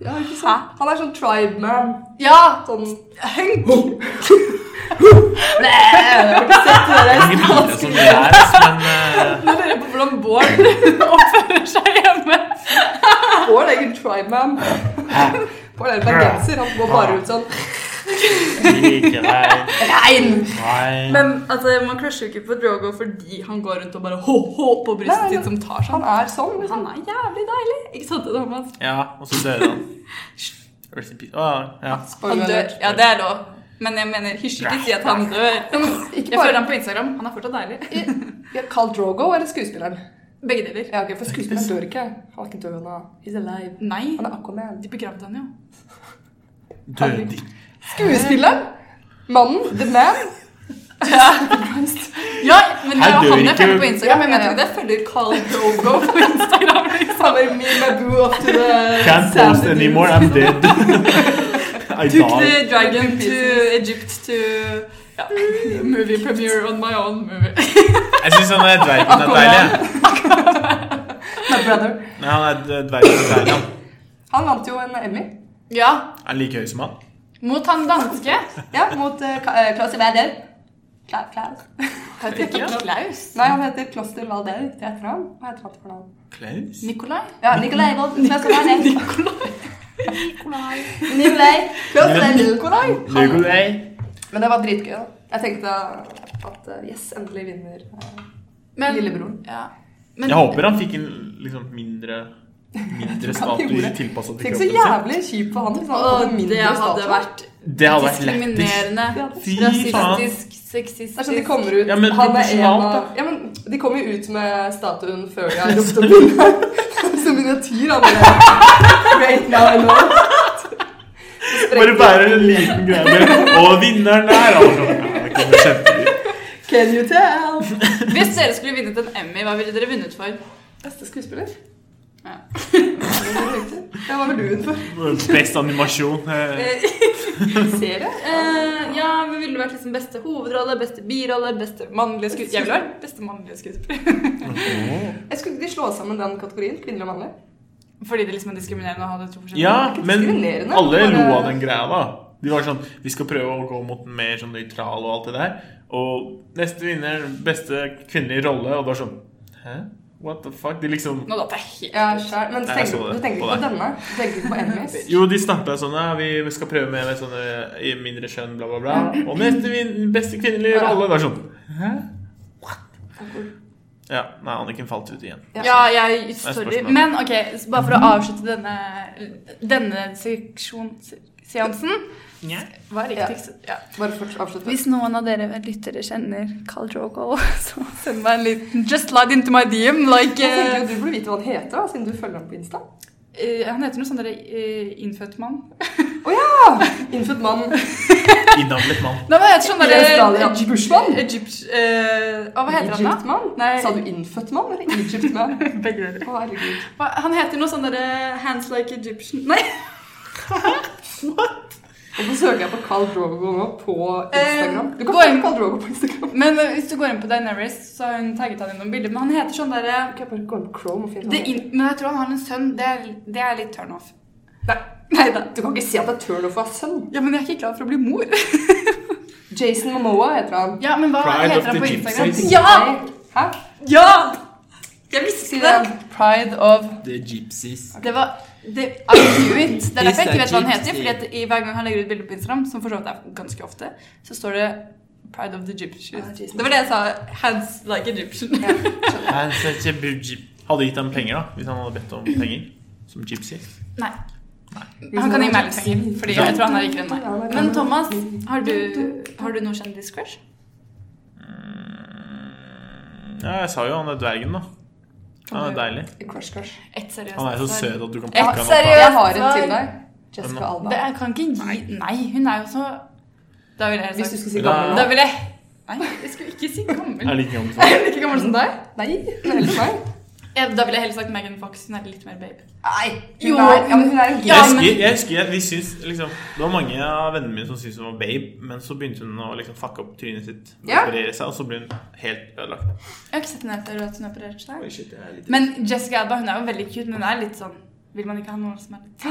[SPEAKER 3] Ja, ikke
[SPEAKER 1] sant?
[SPEAKER 3] Han er sånn tribe man.
[SPEAKER 1] Ja!
[SPEAKER 3] Sånn
[SPEAKER 1] Hunk!
[SPEAKER 2] Jeg kan ikke vite så mye her, ass, men eh,
[SPEAKER 1] Jeg lurer på hvordan Bård oppfører seg hjemme.
[SPEAKER 3] Bård er ikke en tribe man. Bård er en bergenser. Han går bare ut sånn
[SPEAKER 2] eh, liker deg.
[SPEAKER 3] Rein!
[SPEAKER 2] Nei.
[SPEAKER 1] Men altså, man crusher jo ikke på Drogo fordi han går rundt og bare hå-hå på
[SPEAKER 3] Nei,
[SPEAKER 1] brystet
[SPEAKER 3] men-
[SPEAKER 1] sitt som tar seg.
[SPEAKER 3] Han er sånn, liksom.
[SPEAKER 1] Han er jævlig deilig. Ikke sant, Thomas?
[SPEAKER 2] Ja, og så døde han. Rest in peace. Å, ja.
[SPEAKER 1] Han dør. Ja, det er lov. Men jeg mener, hysj, ikke si at han dør. Jeg
[SPEAKER 3] Ikke
[SPEAKER 1] følger
[SPEAKER 3] bare
[SPEAKER 1] ham på Instagram. Han er fortsatt deilig.
[SPEAKER 3] Ja, Carl Drogo eller skuespilleren?
[SPEAKER 1] Begge deler.
[SPEAKER 3] Ja, ok, For skuespilleren dør ikke. Han er ikke død nå. He's alive.
[SPEAKER 1] Nei,
[SPEAKER 3] Han er Aquaman.
[SPEAKER 1] de begravde han jo.
[SPEAKER 2] Døde ikke.
[SPEAKER 3] Skuespilleren! Mannen. The man.
[SPEAKER 1] Ja, men det
[SPEAKER 2] Her
[SPEAKER 1] er jo han
[SPEAKER 2] dør
[SPEAKER 1] jeg
[SPEAKER 2] ikke-
[SPEAKER 1] følger på Instagram. Jeg
[SPEAKER 3] Ja, ja,
[SPEAKER 1] mener
[SPEAKER 3] ja.
[SPEAKER 1] ikke at jeg følger Carl Drogo på Instagram. liksom.
[SPEAKER 3] Samme me, my boo, up to the
[SPEAKER 2] Can't
[SPEAKER 3] sandy
[SPEAKER 2] post anymore, I'm dead. I
[SPEAKER 1] Took the
[SPEAKER 2] died.
[SPEAKER 1] dragon to Egypt to ja, movie premiere on my own movie.
[SPEAKER 2] Jeg syns han er dvergen er deilig. jeg.
[SPEAKER 3] dudes. My brother.
[SPEAKER 2] Nei, han er d- dvergen er deilig. han.
[SPEAKER 3] Han vant jo en Emmy.
[SPEAKER 1] Ja,
[SPEAKER 2] Er han like høy som han?
[SPEAKER 1] mot han danske.
[SPEAKER 3] Ja, mot eh, Ka- eh, Klaus Valder. Kla- Klaus.
[SPEAKER 1] Heter ikke Klaus.
[SPEAKER 3] Nei, han heter Kloster Valder til etternavn. Hva heter han til fornavn?
[SPEAKER 2] Klaus?
[SPEAKER 1] Nikolai?
[SPEAKER 3] Ja, Nicolai Valder. Nicolai. Nicolai. Klaus Valder. Nicolai. Han-
[SPEAKER 2] Nikolai.
[SPEAKER 3] Men det var dritgøy, da. Jeg tenkte at eh, yes, endelig vinner eh, lillebroren.
[SPEAKER 1] Ja. Men-
[SPEAKER 2] Jeg håper han fikk en liksom mindre Mindre status
[SPEAKER 3] gjorde.
[SPEAKER 2] tilpassa til
[SPEAKER 3] Tenk så
[SPEAKER 2] kroppen sin.
[SPEAKER 3] jævlig kjipt for han. hvis han
[SPEAKER 1] Åh,
[SPEAKER 3] hadde mindre
[SPEAKER 1] det hadde
[SPEAKER 3] status.
[SPEAKER 1] vært
[SPEAKER 2] Det hadde vært lættis.
[SPEAKER 1] diskriminerende,
[SPEAKER 2] Fy faen.
[SPEAKER 1] rasistisk,
[SPEAKER 3] Det er sånn de
[SPEAKER 1] sexistisk
[SPEAKER 3] kommer ut
[SPEAKER 2] Ja, men
[SPEAKER 3] han er en
[SPEAKER 2] proporsjonalt,
[SPEAKER 3] av, ja, men De kommer jo ut med statuen før de har ropt opp vinneren. Som miniatyr. Han bare Right now I know. Så sprekker
[SPEAKER 2] Bare bærer en liten greie med Og vinneren er altså. Ja, det kunne vært kjempegøy.
[SPEAKER 3] Can you tell?
[SPEAKER 1] Hvis dere skulle vunnet en Emmy, hva ville dere vunnet for?
[SPEAKER 3] Beste skuespiller.
[SPEAKER 1] Ja.
[SPEAKER 3] Ja, hva vil du ut for?
[SPEAKER 2] Best animasjon. eh,
[SPEAKER 3] Serie?
[SPEAKER 1] Eh, ja, men ville du vært liksom beste hovedrolle, beste birolle, beste mannlige skuespiller? Jeg ville vært beste mannlige skuespiller.
[SPEAKER 3] Eh. Jeg Skulle ikke de slå sammen den kategorien? Kvinner og mannlig?
[SPEAKER 1] Fordi det liksom er diskriminerende å ha det to forskjellige.
[SPEAKER 2] Ja, men
[SPEAKER 3] diskriminerende,
[SPEAKER 2] alle
[SPEAKER 3] bare-
[SPEAKER 2] lo av den greia da. De var sånn Vi skal prøve å gå mot den mer sånn nøytral og alt det der. Og neste vinner, beste kvinnelige rolle, og det var sånn Hæ? What the fuck? De liksom
[SPEAKER 1] Nå datt jeg helt
[SPEAKER 3] Ja, skjær. Men
[SPEAKER 2] Nei, jeg
[SPEAKER 3] tenker,
[SPEAKER 2] så det
[SPEAKER 3] du tenker
[SPEAKER 2] på
[SPEAKER 3] ikke på
[SPEAKER 2] deg.
[SPEAKER 3] denne? Du tenker ikke på Emmys?
[SPEAKER 2] jo, de snappa sånn ja, vi, vi skal prøve med, med sånne i mindre kjønn, bla, bla, bla. Og neste vin, beste kvinnelige
[SPEAKER 3] Ja.
[SPEAKER 2] rolle. Det var sånn Hæ? Ja. Nei, Anniken falt ut igjen.
[SPEAKER 1] Ja, jeg Sorry.
[SPEAKER 2] spørsmål.
[SPEAKER 1] Men ok, så bare for å avslutte denne, denne seksjonsseansen Hva er riktigst? Ja.
[SPEAKER 3] Bare for å avslutte.
[SPEAKER 1] Hvis noen av dere lyttere kjenner Carl Drogo, så send meg en liten Just slide into my DM. Like
[SPEAKER 3] Jeg tenker
[SPEAKER 1] eh,
[SPEAKER 3] jo Du burde vite hva han heter, da, siden du følger ham på Insta.
[SPEAKER 1] eh, Han heter noe sånn derre eh, innfødt mann.
[SPEAKER 3] Innfødt mann.
[SPEAKER 2] Innavlet mann.
[SPEAKER 1] Nei, hva heter sånn
[SPEAKER 3] I Australia.
[SPEAKER 1] derre
[SPEAKER 3] Bushman?
[SPEAKER 1] Egypt... eh, Hva heter han da?
[SPEAKER 3] Egyptmann?
[SPEAKER 1] Nei.
[SPEAKER 3] Sa du innfødt mann eller Egyptmann?
[SPEAKER 1] Begge deler.
[SPEAKER 3] Å, herregud.
[SPEAKER 1] Hva- Han heter noe sånn derre Hands like Egyptian Nei!
[SPEAKER 3] Hvorfor søker jeg på Carl Drogo nå på Instagram?
[SPEAKER 1] Eh,
[SPEAKER 3] Du kan
[SPEAKER 1] gå inn.
[SPEAKER 3] følge Carl Drogo på Instagram.
[SPEAKER 1] Men eh, hvis du går inn på Daenerys, så har hun tagget han i noen bilder. Men han heter sånn derre
[SPEAKER 3] Kan jeg bare gå inn på Chrome og finne
[SPEAKER 1] det
[SPEAKER 3] han?
[SPEAKER 1] inn- Men jeg tror han har en sønn. Det er, det er litt turn off.
[SPEAKER 3] Nei, nei da. Du kan ikke si at det er turn off å ha sønn.
[SPEAKER 1] Ja, men jeg er ikke klar for å bli mor.
[SPEAKER 3] Jason Momoa heter han.
[SPEAKER 1] Ja, men hva
[SPEAKER 2] Pride
[SPEAKER 1] heter
[SPEAKER 2] of
[SPEAKER 1] han
[SPEAKER 2] the
[SPEAKER 1] på
[SPEAKER 2] Gypsies.
[SPEAKER 1] Instagram? Ja!
[SPEAKER 3] Hæ?
[SPEAKER 1] Ja! Jeg visste
[SPEAKER 3] Si
[SPEAKER 1] det.
[SPEAKER 3] det.
[SPEAKER 1] Pride of
[SPEAKER 2] The gypsies.
[SPEAKER 1] Det var det, I knew it. Det er
[SPEAKER 2] Is
[SPEAKER 1] derfor jeg ikke vet
[SPEAKER 2] that
[SPEAKER 1] hva han
[SPEAKER 2] gypsy?
[SPEAKER 1] heter. Fordi at i Hver gang han legger ut bilde på Instagram, som for så vidt er ganske ofte, så står det Pride of the
[SPEAKER 3] Ah,
[SPEAKER 1] Gypsians.
[SPEAKER 3] Jesus.
[SPEAKER 1] Det var det jeg sa. Hands like Egyptian.
[SPEAKER 3] Ja, skjønner.
[SPEAKER 2] Han ser ikke bu- gyp- Hadde gitt ham penger, da, hvis han hadde bedt om penger. Som gypsy.
[SPEAKER 1] Nei. Han kan gi meg litt penger, fordi jeg tror han er rikere enn meg. Men Thomas, har du, har du noe kjendiscrush?
[SPEAKER 2] Mm, Ja, jeg sa jo han er dvergen, da. Han er
[SPEAKER 3] Kan
[SPEAKER 2] deilig.
[SPEAKER 3] Crush, crush.
[SPEAKER 1] Ett seriøst
[SPEAKER 2] Han er så
[SPEAKER 1] svar.
[SPEAKER 2] søt at du kan
[SPEAKER 1] Ja,
[SPEAKER 2] plukke han opp.
[SPEAKER 1] seriøst.
[SPEAKER 2] her.
[SPEAKER 3] Jeg har en til
[SPEAKER 2] Hvem
[SPEAKER 3] deg. Jessica
[SPEAKER 2] da?
[SPEAKER 1] Det,
[SPEAKER 3] Alba.
[SPEAKER 1] jeg kan ikke gi Nei, hun er jo så Da ville jeg
[SPEAKER 3] Hvis du
[SPEAKER 1] sagt
[SPEAKER 3] skulle si
[SPEAKER 2] Da-
[SPEAKER 3] gammel
[SPEAKER 1] Da
[SPEAKER 3] nå.
[SPEAKER 1] ville jeg Nei, jeg skulle ikke si gammel.
[SPEAKER 2] Jeg er like gammel som
[SPEAKER 1] Er hun like gammel som deg?
[SPEAKER 3] Nei, hun er eldre enn meg.
[SPEAKER 1] Ja, Da ville jeg heller sagt Megan Fox. Hun er litt mer babe.
[SPEAKER 3] Nei,
[SPEAKER 1] Jo,
[SPEAKER 3] hun er, ja, men hun er en
[SPEAKER 1] Ja,
[SPEAKER 2] jeg,
[SPEAKER 1] men-
[SPEAKER 2] husker, jeg husker at vi syns liksom, Det var mange av vennene mine som syntes hun var babe, men så begynte hun å liksom fucke opp trynet sitt,
[SPEAKER 3] Ja.
[SPEAKER 2] operere seg, og så ble hun helt ødelagt.
[SPEAKER 1] Jeg har ikke sett henne etter at hun opererte seg.
[SPEAKER 2] Oi, shit, jeg er litt-
[SPEAKER 1] Men Jessica Alba hun er jo veldig cute, men hun er litt sånn Vil man ikke ha noen som er litt
[SPEAKER 3] Jeg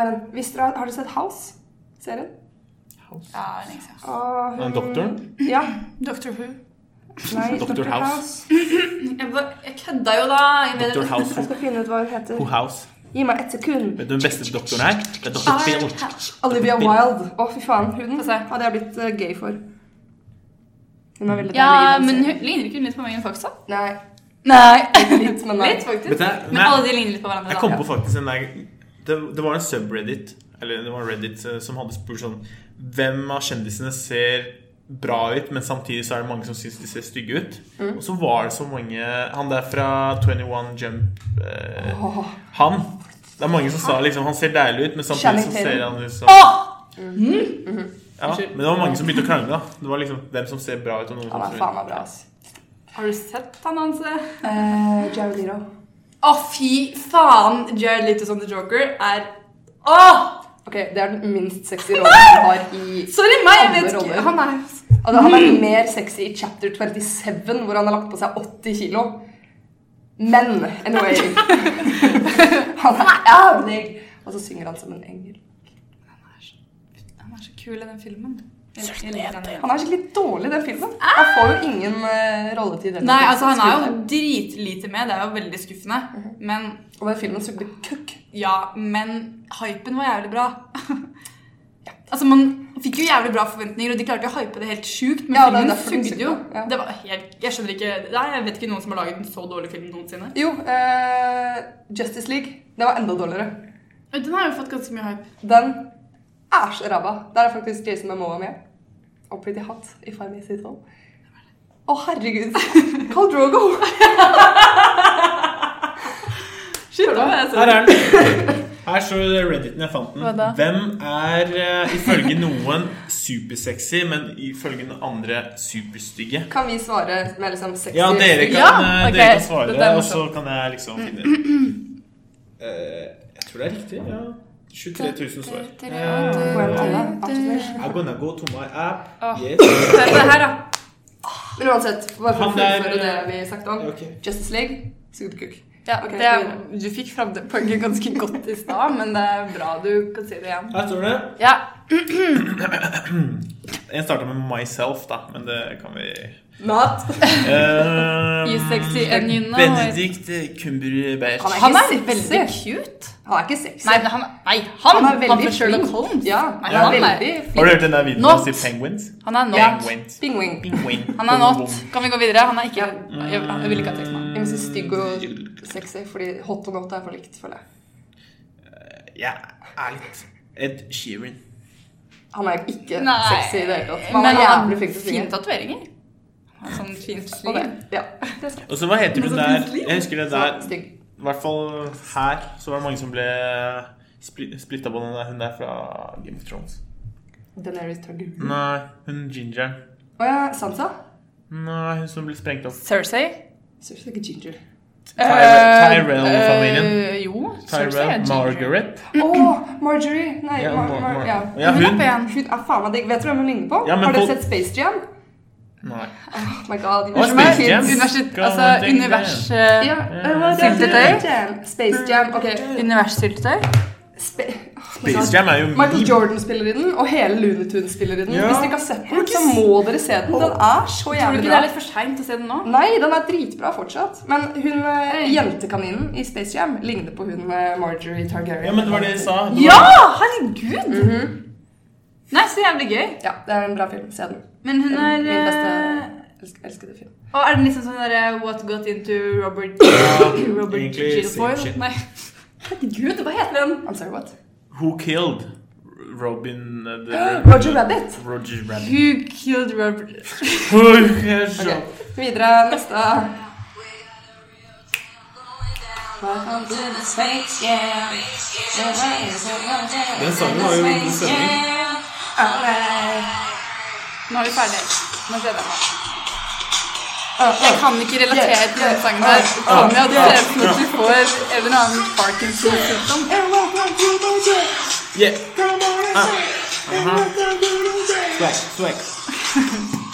[SPEAKER 3] har en. Hvis dere har, har dere sett House? Serien?
[SPEAKER 1] Ja, lenge siden.
[SPEAKER 3] Åh, hun-
[SPEAKER 2] Den doktoren?
[SPEAKER 3] Ja.
[SPEAKER 1] Dr. Who.
[SPEAKER 3] Nei,
[SPEAKER 2] Dr.
[SPEAKER 3] Dr.
[SPEAKER 2] House.
[SPEAKER 3] House.
[SPEAKER 1] Jeg, bare, jeg kødda jo, da. Jeg mener-
[SPEAKER 2] Dr. House.
[SPEAKER 3] Jeg skal finne ut hva hun heter.
[SPEAKER 2] Who House.
[SPEAKER 3] Gi meg et sekund.
[SPEAKER 2] Vet du hvem beste doktoren er? Det er doktor Bill.
[SPEAKER 3] Olivia
[SPEAKER 2] Bill.
[SPEAKER 3] Wilde. Å, fy faen. Hun
[SPEAKER 1] Få se.
[SPEAKER 3] hadde jeg blitt eh, gay for. Hun er veldig
[SPEAKER 1] Ja,
[SPEAKER 3] deilig i den
[SPEAKER 1] men
[SPEAKER 3] serien.
[SPEAKER 1] hun, ligner ikke hun litt på Megan Fox, da?
[SPEAKER 3] Nei,
[SPEAKER 1] Nei.
[SPEAKER 3] litt, men nei.
[SPEAKER 1] Litt, faktisk.
[SPEAKER 2] Vet du,
[SPEAKER 1] Men alle de ligner litt på hverandre.
[SPEAKER 2] Jeg
[SPEAKER 1] da.
[SPEAKER 2] kom på faktisk en der Det, det var en subreddit Eller det var Reddit eh, som hadde spurt sånn Hvem av kjendisene ser bra ut Men samtidig så er det mange som synes de ser stygge ut Og så var det så mange Han der fra 21 Jump eh,
[SPEAKER 3] Åh,
[SPEAKER 2] Han Det er mange som sa liksom Han ser deilig ut Men samtidig
[SPEAKER 3] Channing
[SPEAKER 2] så
[SPEAKER 3] Tatum.
[SPEAKER 2] ser han ut som
[SPEAKER 1] Åh!
[SPEAKER 2] ja, Men det var mange som begynte å krangle da Det var liksom hvem som ser bra ut Og noen
[SPEAKER 3] han
[SPEAKER 2] som
[SPEAKER 3] er
[SPEAKER 2] ser
[SPEAKER 3] faen meg bra, ass.
[SPEAKER 1] Har du sett han hans? eh?
[SPEAKER 3] Uh, Jared Leto.
[SPEAKER 1] Å, fy faen! Jared Leto som The Joker er Åh!
[SPEAKER 3] Ok, det er den minst sexy rollen han har i
[SPEAKER 1] Sorry meg, jeg vet
[SPEAKER 3] Andre roller.
[SPEAKER 1] ikke. Han er
[SPEAKER 3] Altså, han
[SPEAKER 1] Mm.
[SPEAKER 3] er mer sexy i chapter 27, hvor han har lagt på seg 80 kilo. Men anyway Han er jævlig! Og så synger han som en engel.
[SPEAKER 1] Han er så kul i den filmen. Jeg- jeg liker han igjen.
[SPEAKER 3] Han er skikkelig dårlig i den filmen. Han får jo ingen uh, rolletid.
[SPEAKER 1] Nei, altså han er jo dritlite med, det er jo veldig skuffende.
[SPEAKER 3] Mhm.
[SPEAKER 1] Men
[SPEAKER 3] Og den filmen sugde kukk.
[SPEAKER 1] ja, men hypen var jævlig bra. Altså Man fikk jo jævlig bra forventninger, og de klarte å hype det helt sjukt. Men
[SPEAKER 3] Ja, det er
[SPEAKER 1] filmen
[SPEAKER 3] derfor den
[SPEAKER 1] sugde jo.
[SPEAKER 3] sugde, ja.
[SPEAKER 1] Det var helt, jeg skjønner ikke Nei, jeg vet ikke noen som har laget en så dårlig film noensinne.
[SPEAKER 3] Jo, eh, Justice League. Det var enda dårligere.
[SPEAKER 1] Den har jo fått ganske mye hype.
[SPEAKER 3] Den er så ræva. Der er faktisk Jason Momoa med. Og Pretty Hot, if I may say so. Å, herregud! Carl Drogo!
[SPEAKER 1] Shit, da var jeg
[SPEAKER 2] Her
[SPEAKER 1] så
[SPEAKER 2] er den. Her står det Redditen jeg fant
[SPEAKER 1] Hva
[SPEAKER 2] den.
[SPEAKER 1] da?
[SPEAKER 2] Hvem er eh, ifølge noen supersexy, men ifølge den andre superstygge?
[SPEAKER 3] Kan vi svare med liksom sexy
[SPEAKER 2] Ja, dere kan,
[SPEAKER 1] Ja,
[SPEAKER 2] eh,
[SPEAKER 1] ok.
[SPEAKER 2] dere kan svare,
[SPEAKER 1] Dette er
[SPEAKER 2] og så
[SPEAKER 1] morsomt.
[SPEAKER 2] kan jeg liksom finne Eh, Jeg tror det er riktig. ja. 23 000 svar.
[SPEAKER 3] Hvor er det
[SPEAKER 2] Eh,
[SPEAKER 3] alle? Er det så snill?
[SPEAKER 2] I'm gonna go to my app.
[SPEAKER 1] Åh.
[SPEAKER 2] Yes.
[SPEAKER 1] Hør på det her, da.
[SPEAKER 3] Men uansett, bare for å
[SPEAKER 2] Han der- eh,
[SPEAKER 3] fullføre det vi snakket om.
[SPEAKER 2] Ok.
[SPEAKER 3] Justice League, sugde kukk.
[SPEAKER 1] Ja,
[SPEAKER 3] Ok,
[SPEAKER 1] det,
[SPEAKER 3] gå
[SPEAKER 1] du fikk fram det poenget ganske godt i stad, men det er bra du kan si det igjen.
[SPEAKER 2] Her står det
[SPEAKER 1] Ja,
[SPEAKER 2] Jeg starta med myself, da, men det kan vi
[SPEAKER 3] Not.
[SPEAKER 2] Eh,
[SPEAKER 1] You sexy and you know it.
[SPEAKER 2] Benedikt Cumberbatch.
[SPEAKER 3] Han er
[SPEAKER 1] Han er
[SPEAKER 3] ikke sexy.
[SPEAKER 1] veldig cute.
[SPEAKER 3] Han er ikke sexy.
[SPEAKER 1] Nei, men han, nei, han,
[SPEAKER 3] Han er veldig
[SPEAKER 1] han fra Sherlock
[SPEAKER 3] flink.
[SPEAKER 1] Holmes.
[SPEAKER 3] Ja,
[SPEAKER 1] Nei,
[SPEAKER 3] han er
[SPEAKER 1] han er-
[SPEAKER 3] veldig
[SPEAKER 2] Har du
[SPEAKER 3] fin.
[SPEAKER 2] hørt den der videoen
[SPEAKER 1] Not.
[SPEAKER 2] til penguins?
[SPEAKER 1] Han er
[SPEAKER 3] Ja.
[SPEAKER 1] not.
[SPEAKER 2] Penguins.
[SPEAKER 3] Pingwing.
[SPEAKER 2] Penguin. Mm.
[SPEAKER 1] Han er not. Kan vi gå videre? Han er ikke
[SPEAKER 2] Ja.
[SPEAKER 1] Jeg, jeg vil ikke ha teksten.
[SPEAKER 3] Jeg vil si stygg og
[SPEAKER 2] Mm.
[SPEAKER 3] sexy, fordi hot og not er for likt, føler jeg.
[SPEAKER 2] Jeg er litt Ed Sheeran.
[SPEAKER 3] Han er ikke
[SPEAKER 1] Nei,
[SPEAKER 3] sexy i det hele tatt. Men han er jævlig flink til å
[SPEAKER 1] fine
[SPEAKER 3] synge.
[SPEAKER 1] tatoveringer. Han har Sånn fint
[SPEAKER 3] Og
[SPEAKER 1] sliv.
[SPEAKER 3] det- Ja. Det er
[SPEAKER 2] Og så hva heter hun
[SPEAKER 3] Men så
[SPEAKER 2] der?
[SPEAKER 3] plutselig-
[SPEAKER 2] Jeg husker det
[SPEAKER 3] så
[SPEAKER 2] der
[SPEAKER 3] stygg.
[SPEAKER 2] I hvert fall her så var det mange som ble splitta på den der, hun der fra Game of Thrones.
[SPEAKER 3] Daenerys Targaryen.
[SPEAKER 2] Nei, hun Ginger.
[SPEAKER 3] Å ja, Sansa?
[SPEAKER 2] Nei, hun som ble sprengt opp.
[SPEAKER 1] Cersei.
[SPEAKER 3] Syns du ikke Ginger?
[SPEAKER 2] Tyrell-familien.
[SPEAKER 1] Eh, jo. Cersei er
[SPEAKER 2] Tyrell
[SPEAKER 1] ginger.
[SPEAKER 2] Margaret.
[SPEAKER 1] Mm.
[SPEAKER 3] Å, Marjorie! Nei,
[SPEAKER 2] Ja,
[SPEAKER 3] Mar
[SPEAKER 2] Mar-
[SPEAKER 3] Mar
[SPEAKER 2] Mar-
[SPEAKER 3] ja.
[SPEAKER 2] Ja,
[SPEAKER 1] Hun er
[SPEAKER 2] hun.
[SPEAKER 1] pen.
[SPEAKER 3] Hun er ah, faen meg digg. Vet du hvem hun ligner på?
[SPEAKER 2] Ja, men
[SPEAKER 3] Har dere
[SPEAKER 2] på-
[SPEAKER 3] sett Space Jam?
[SPEAKER 2] Nei.
[SPEAKER 3] Oh my
[SPEAKER 2] Hva
[SPEAKER 3] god.
[SPEAKER 2] er
[SPEAKER 3] Unnskyld meg,
[SPEAKER 2] Space Jam?
[SPEAKER 3] kids.
[SPEAKER 1] Universitet,
[SPEAKER 2] Kan
[SPEAKER 1] altså
[SPEAKER 2] man tenke
[SPEAKER 1] univers...
[SPEAKER 3] Ja,
[SPEAKER 1] eh,
[SPEAKER 3] eh, hva er det?
[SPEAKER 1] Syltetøy?
[SPEAKER 3] Jam. Space Jam. Ok.
[SPEAKER 1] Univers-syltetøy.
[SPEAKER 3] Spa oh my
[SPEAKER 2] Space
[SPEAKER 3] god.
[SPEAKER 2] Jam er jo
[SPEAKER 3] Michael
[SPEAKER 2] min.
[SPEAKER 3] Jordan spiller i den, og hele Looney Tunes spiller i den.
[SPEAKER 2] Mm. Ja.
[SPEAKER 3] Hvis dere ikke har sett den, så må dere se den. Den er så
[SPEAKER 1] Tror du
[SPEAKER 3] jævlig
[SPEAKER 1] ikke det
[SPEAKER 3] bra.
[SPEAKER 1] er litt for seint å se den nå?
[SPEAKER 3] Nei, den er dritbra fortsatt. Men hun eh, jentekaninen i Space Jam ligner på hun eh, Marjorie Targaryen. Mhm.
[SPEAKER 2] Ja, men det var det jeg sa. Det var-
[SPEAKER 1] Ja! Herregud! Nei, så jævlig gøy.
[SPEAKER 3] Ja, det er en bra film. Se den.
[SPEAKER 1] Men hun er
[SPEAKER 3] Min
[SPEAKER 1] eh,
[SPEAKER 3] beste elsk- elskede film.
[SPEAKER 1] Og er den liksom sånn derre What got into Robert Robert
[SPEAKER 2] egentlig same
[SPEAKER 1] Gilfoyle?
[SPEAKER 2] shit.
[SPEAKER 1] Nei. Herregud, hva heter den?
[SPEAKER 3] I'm sorry, what?
[SPEAKER 2] Who killed Robin uh, the
[SPEAKER 3] Ah, Roger Rabbit.
[SPEAKER 2] Roger Rabbit.
[SPEAKER 1] Who killed Robert
[SPEAKER 2] Oi, jeg er så-
[SPEAKER 3] Ok, Videre. Neste.
[SPEAKER 4] Welcome to the space jam. The waves are gonna dance
[SPEAKER 2] Den sangen
[SPEAKER 4] in the
[SPEAKER 2] var jo en god
[SPEAKER 4] space
[SPEAKER 2] stemning.
[SPEAKER 4] jam. Alright.
[SPEAKER 1] Nå er vi ferdige. Nå ser jeg deg. Jeg kan ikke relatere til den sangen her. Det kommer jo at det ser ut som at du får en eller annen Parkinson-sykdom.
[SPEAKER 2] Yeah. Ah. Aha. Swag, swag.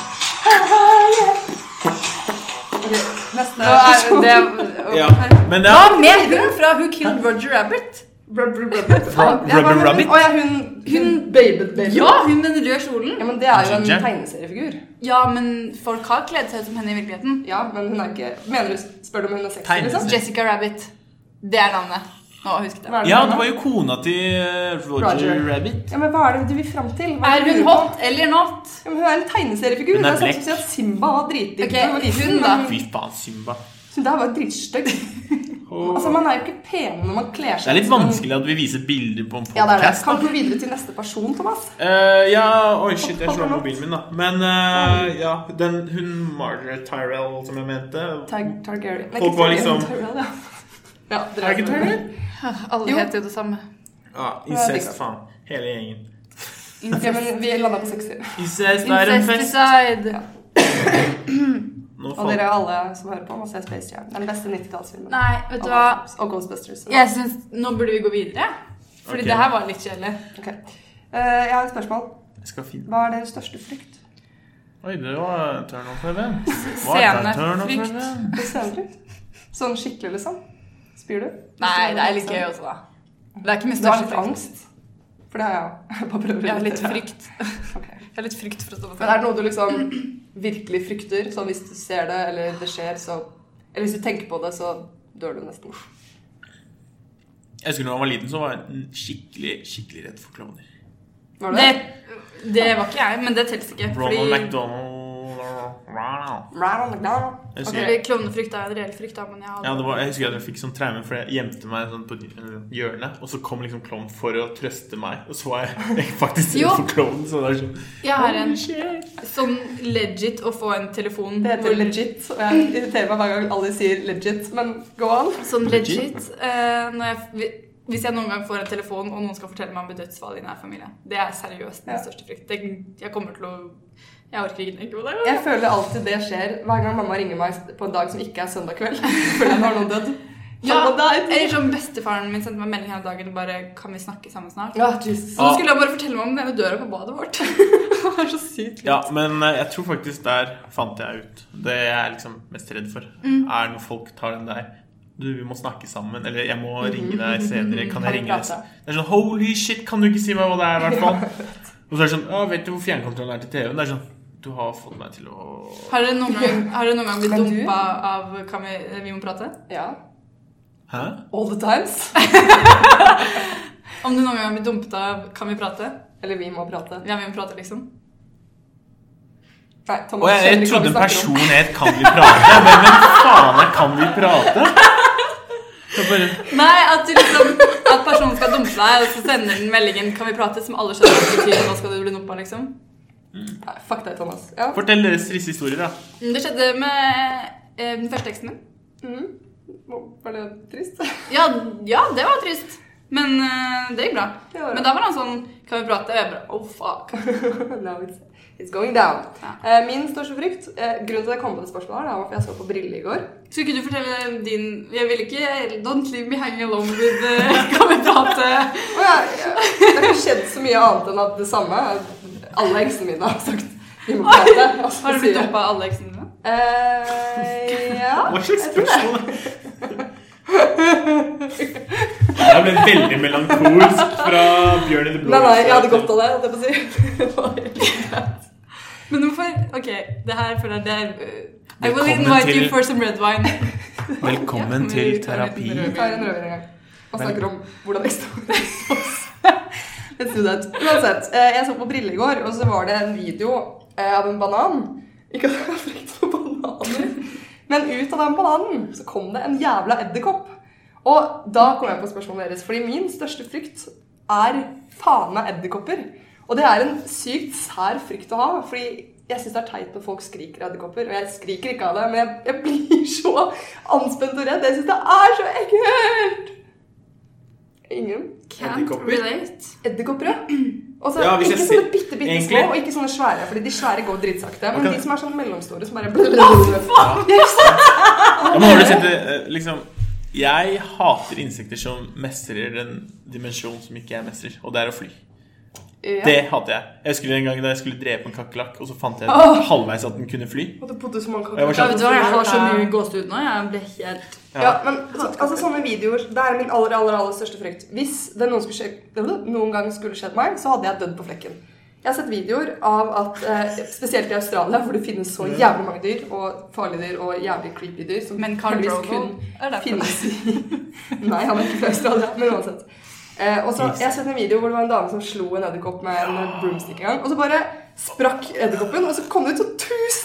[SPEAKER 1] Nå er det
[SPEAKER 3] Oh,
[SPEAKER 1] oh,
[SPEAKER 2] Ja. Men det
[SPEAKER 1] Hva
[SPEAKER 2] er
[SPEAKER 1] med hun fra Who Killed Roger Rabbit?
[SPEAKER 2] Rub- Rubber Rabbit.
[SPEAKER 3] Å ja, hun, hun baby, baby.
[SPEAKER 1] Ja, hun med den røde kjolen.
[SPEAKER 3] ja, men det er jo en
[SPEAKER 2] Ginger.
[SPEAKER 3] tegneseriefigur.
[SPEAKER 1] Ja, men folk har kledd seg ut som henne i virkeligheten.
[SPEAKER 3] Ja, men hun er ikke Mener du Spør du om hun er sexy,
[SPEAKER 2] Tegneserie.
[SPEAKER 3] liksom?
[SPEAKER 1] Jessica Rabbit. Det er navnet. Nå husket jeg.
[SPEAKER 3] Hva er
[SPEAKER 2] Ja,
[SPEAKER 3] du
[SPEAKER 2] det
[SPEAKER 3] mener?
[SPEAKER 2] var jo kona til eh, Roger
[SPEAKER 3] Roger.
[SPEAKER 2] Rabbit.
[SPEAKER 3] ja, men Hva er det du vil fram til? Hva
[SPEAKER 1] Er
[SPEAKER 3] det
[SPEAKER 1] hun
[SPEAKER 3] du-
[SPEAKER 1] hot eller not?
[SPEAKER 3] Ja, men hun er en tegneseriefigur.
[SPEAKER 2] Hun
[SPEAKER 3] Hun
[SPEAKER 2] er
[SPEAKER 3] er sånn
[SPEAKER 2] blekk.
[SPEAKER 3] som sier at Simba var dritdigg.
[SPEAKER 1] Ok,
[SPEAKER 3] da hun var liten,
[SPEAKER 1] hun da.
[SPEAKER 3] men
[SPEAKER 2] Fy faen, Simba.
[SPEAKER 3] Hun der var jo dritstygg. altså, man er jo ikke pen når man kler seg
[SPEAKER 2] Det er litt
[SPEAKER 3] som-
[SPEAKER 2] vanskelig at vi viser bilder på en
[SPEAKER 3] Ja, det er det.
[SPEAKER 2] podcast.
[SPEAKER 3] Kan du gå videre til neste person, Thomas?
[SPEAKER 2] Eh, ja Oi, shit, jeg slo av mobilen min, da. Men eh, ja, den, hun Margaret Tyrell som jeg mente
[SPEAKER 3] Tar Targaryen. Nei,
[SPEAKER 2] Folk
[SPEAKER 3] ikke
[SPEAKER 2] var
[SPEAKER 3] Targaryen,
[SPEAKER 2] liksom-
[SPEAKER 3] Tyrell, ja. ja dere
[SPEAKER 2] Er det ikke Tyrell?
[SPEAKER 1] Alle
[SPEAKER 3] Jo.
[SPEAKER 1] heter jo det samme.
[SPEAKER 2] Ja, liksom- incest, faen. Hele gjengen.
[SPEAKER 3] Ja, men vi landa på sekser.
[SPEAKER 2] Incest er en fest.
[SPEAKER 1] Incesticide.
[SPEAKER 2] Nå
[SPEAKER 3] Og
[SPEAKER 2] faen.
[SPEAKER 3] dere alle som hører på, må se Space Jam. Det er den beste 90-tallsfilmen.
[SPEAKER 1] Nei, vet du hva?
[SPEAKER 3] Og Ghostbusters.
[SPEAKER 1] Jeg synes, Nå burde vi gå videre. Fordi
[SPEAKER 2] Ok.
[SPEAKER 1] det her var litt kjedelig.
[SPEAKER 3] Ok. Eh, jeg har et spørsmål.
[SPEAKER 2] Jeg skal finne
[SPEAKER 3] Hva er deres største frykt?
[SPEAKER 2] Oi, det var turn off event.
[SPEAKER 1] Scenefrykt.
[SPEAKER 2] altså?
[SPEAKER 3] Scenefrykt? Sånn skikkelig, liksom? Spyr du? liksom?
[SPEAKER 1] Nei, det er litt gøy også, da. Det er ikke min
[SPEAKER 3] Du har
[SPEAKER 1] største
[SPEAKER 3] litt
[SPEAKER 1] frykt.
[SPEAKER 3] angst? For det har jeg òg. Jeg bare prøver å
[SPEAKER 1] Jeg har litt
[SPEAKER 3] relatere.
[SPEAKER 1] frykt.
[SPEAKER 3] Ok.
[SPEAKER 1] Jeg har litt frykt for å stå på
[SPEAKER 3] Men er det noe du liksom virkelig frykter? Sånn hvis du ser det, eller det skjer, så Eller hvis du tenker på det, så dør du nesten.
[SPEAKER 2] Jeg husker da jeg var liten, så var jeg en skikkelig skikkelig redd for klovner.
[SPEAKER 3] Var det
[SPEAKER 1] Det, det var ikke jeg, men det teller ikke.
[SPEAKER 2] Ronald
[SPEAKER 1] Fordi
[SPEAKER 2] McDonald Wow.
[SPEAKER 3] Ronald McDonald.
[SPEAKER 2] Jeg
[SPEAKER 1] Ok,
[SPEAKER 2] husker,
[SPEAKER 1] Klovnefrykt er en reell frykt, da, men jeg
[SPEAKER 2] ja,
[SPEAKER 1] har
[SPEAKER 2] det var, jeg husker at jeg fikk sånn traume, for jeg gjemte meg sånn på et hjørne. Og så kom liksom klovn for å trøste meg, og så var jeg, jeg faktisk
[SPEAKER 1] Jo.
[SPEAKER 2] redd for klovnen. Så det er sånn
[SPEAKER 1] Jeg har en sånn legit å få en telefon
[SPEAKER 3] Det heter
[SPEAKER 1] hvor-
[SPEAKER 3] legit, og jeg irriterer meg hver gang alle sier legit, men go on.
[SPEAKER 1] Sånn
[SPEAKER 2] Legit?
[SPEAKER 1] legit eh, når jeg, hvi- Hvis jeg noen gang får en telefon og noen skal fortelle meg om dødsfall i nær familie. Det er seriøst min
[SPEAKER 3] Ja.
[SPEAKER 1] største frykt. Det, jeg kommer til å Jeg orker ikke tenke på det.
[SPEAKER 3] Jeg føler alltid det skjer hver gang mamma ringer meg på en dag som ikke er søndag kveld. Føler jeg nå har noen dødd.
[SPEAKER 1] Ja,
[SPEAKER 3] Mamma, det er-
[SPEAKER 1] Eller som bestefaren min sendte meg melding hele dagen og bare Kan vi snakke sammen snart?
[SPEAKER 3] Ja, Jesus.
[SPEAKER 2] Ah.
[SPEAKER 1] Så nå skulle han bare fortelle meg om den ene døra på badet vårt. det var så sykt.
[SPEAKER 2] Ja, men eh, jeg tror faktisk der fant jeg ut Det jeg er liksom mest redd for,
[SPEAKER 3] Mm.
[SPEAKER 2] er når folk tar den der Du, vi må snakke sammen, eller jeg må
[SPEAKER 3] Mm.
[SPEAKER 2] ringe deg senere. Kan jeg
[SPEAKER 3] vi
[SPEAKER 2] ringe deg?
[SPEAKER 3] prate?
[SPEAKER 2] sen-?» Det er sånn Holy shit, kan du ikke si meg hva det er, i hvert fall? Og så er det sånn Å, vet du hvor fjernkontrollen er til TV-en? Det er sånn Du har fått meg til å
[SPEAKER 1] Har dere noen gang, har dere noen gang blitt
[SPEAKER 3] Men du?
[SPEAKER 1] dumpa av kan vi, vi må prate?
[SPEAKER 3] Ja.
[SPEAKER 2] Hæ?
[SPEAKER 3] All the times.
[SPEAKER 1] Om du noen gang har blitt dumpet av Kan vi prate?
[SPEAKER 3] Eller vi må prate.
[SPEAKER 1] Ja, vi må prate, liksom.
[SPEAKER 3] Nei, Thomas
[SPEAKER 2] Og jeg, jeg
[SPEAKER 3] skjønner ikke hva
[SPEAKER 2] trodde en
[SPEAKER 3] vi snakker om.
[SPEAKER 2] person het Kan vi prate? Men hvem faen er Kan vi prate? Så bare
[SPEAKER 1] Nei, at, du liksom, at personen skal dumpe deg, og så sender den meldingen 'Kan vi prate?' som alle skjønner hva betyr, nå skal du bli dumpa, liksom.
[SPEAKER 3] Nei, fuck deg, Thomas. Ja.
[SPEAKER 2] Fortell deres triste historier, da.
[SPEAKER 1] Men Mm, Det skjedde med eh, den første teksten min.
[SPEAKER 3] Mhm. Var det trist?
[SPEAKER 1] Ja, ja, det var trist. Men eh, det gikk bra.
[SPEAKER 3] Det var det.
[SPEAKER 1] Men da var han sånn 'Kan vi prate?' Og jeg bare 'Oh, fuck'.
[SPEAKER 3] no, it's, it's going down.
[SPEAKER 1] Ja.
[SPEAKER 3] Eh, min største frykt eh, Grunnen til at jeg kom på det spørsmålet, her, det var fordi jeg så på Brille i går.
[SPEAKER 1] Skulle ikke du fortelle din Jeg vil ikke Don't leave me hanging alone with eh, 'Kan vi prate?'
[SPEAKER 3] Og jeg, jeg, det har ikke skjedd så mye annet enn at det samme Alle heksene mine har sagt vi må prate. og så
[SPEAKER 1] Har du
[SPEAKER 3] sier
[SPEAKER 1] blitt
[SPEAKER 3] jeg,
[SPEAKER 1] dumpa av alle eksene dine?
[SPEAKER 3] Eh, ja.
[SPEAKER 2] Hva slags spørsmål er det? Jeg ble veldig melankolsk fra Bjørn i det blå.
[SPEAKER 3] Nei, nei, jeg hadde godt av det. holdt Jeg på å si. Det var helt-
[SPEAKER 1] Men hvorfor Ok, det her føler jeg det er eh, I will
[SPEAKER 2] Velkommen
[SPEAKER 1] invite
[SPEAKER 2] til-
[SPEAKER 1] you for some red wine.
[SPEAKER 2] Velkommen
[SPEAKER 1] Ja,
[SPEAKER 2] til
[SPEAKER 1] vi tar en
[SPEAKER 2] terapi.
[SPEAKER 1] liten
[SPEAKER 3] Vi
[SPEAKER 1] rød.
[SPEAKER 3] tar en røver en gang og
[SPEAKER 2] Men-
[SPEAKER 3] snakker om hvordan ekstremisme Let's do that. Uansett, eh, jeg så på Brille i går, og så var det en video eh, av en banan. Ikke at jeg har frykt for bananer, men ut av den bananen så kom det en jævla edderkopp. Og da kom jeg på spørsmålet deres, fordi min største frykt er faen meg edderkopper. Og det er en sykt sær frykt å ha, fordi Jeg syns det er teit når folk skriker edderkopper, og jeg skriker ikke av det, men jeg, jeg blir så anspent og redd. Jeg syns det er så ekkelt! Ingen
[SPEAKER 5] Can't
[SPEAKER 2] Edderkopper.
[SPEAKER 5] relate.
[SPEAKER 3] edderkopper, ja. Og så
[SPEAKER 2] Ja, hvis
[SPEAKER 3] ikke
[SPEAKER 2] jeg
[SPEAKER 3] sånne
[SPEAKER 2] ser-
[SPEAKER 3] bitte, bitte
[SPEAKER 2] egentlig-
[SPEAKER 3] små, og ikke sånne svære, fordi de svære går dritsakte. Men
[SPEAKER 2] Ok.
[SPEAKER 3] de som er sånn mellomstore, som bare faen!
[SPEAKER 2] Ja, men har du sett det, eh, liksom Jeg hater insekter som mestrer en dimensjon som ikke jeg mestrer, og det er å fly. Det hater jeg. Jeg husker en gang da jeg skulle drepe en kakerlakk, og så fant jeg
[SPEAKER 3] Åh.
[SPEAKER 2] halvveis at den kunne fly.
[SPEAKER 3] Og det bodde så mange
[SPEAKER 2] Jeg var sånn,
[SPEAKER 5] Ja, vet du hva, jeg har så
[SPEAKER 1] Ja.
[SPEAKER 5] mye gåsehud nå. Jeg ble helt
[SPEAKER 3] Ja, men så, altså sånne videoer Det er min aller, aller, aller største frykt. Hvis det noen, skulle skje, noen gang skulle skjedd meg, så hadde jeg dødd på flekken. Jeg har sett videoer av at eh, Spesielt i Australia, hvor det finnes så jævlig mange dyr, og farlige dyr og jævlig creepy dyr, som
[SPEAKER 1] Men Carl
[SPEAKER 3] heldigvis
[SPEAKER 1] Drogo
[SPEAKER 3] kun
[SPEAKER 1] er derfor.
[SPEAKER 3] finnes i Nei, han er ikke fra Australia, men uansett. Eh, og så, Jeg har sett en video hvor det var en dame som slo en edderkopp med en broomstick en gang. Og så bare sprakk edderkoppen, og så kom det ut sånn 1000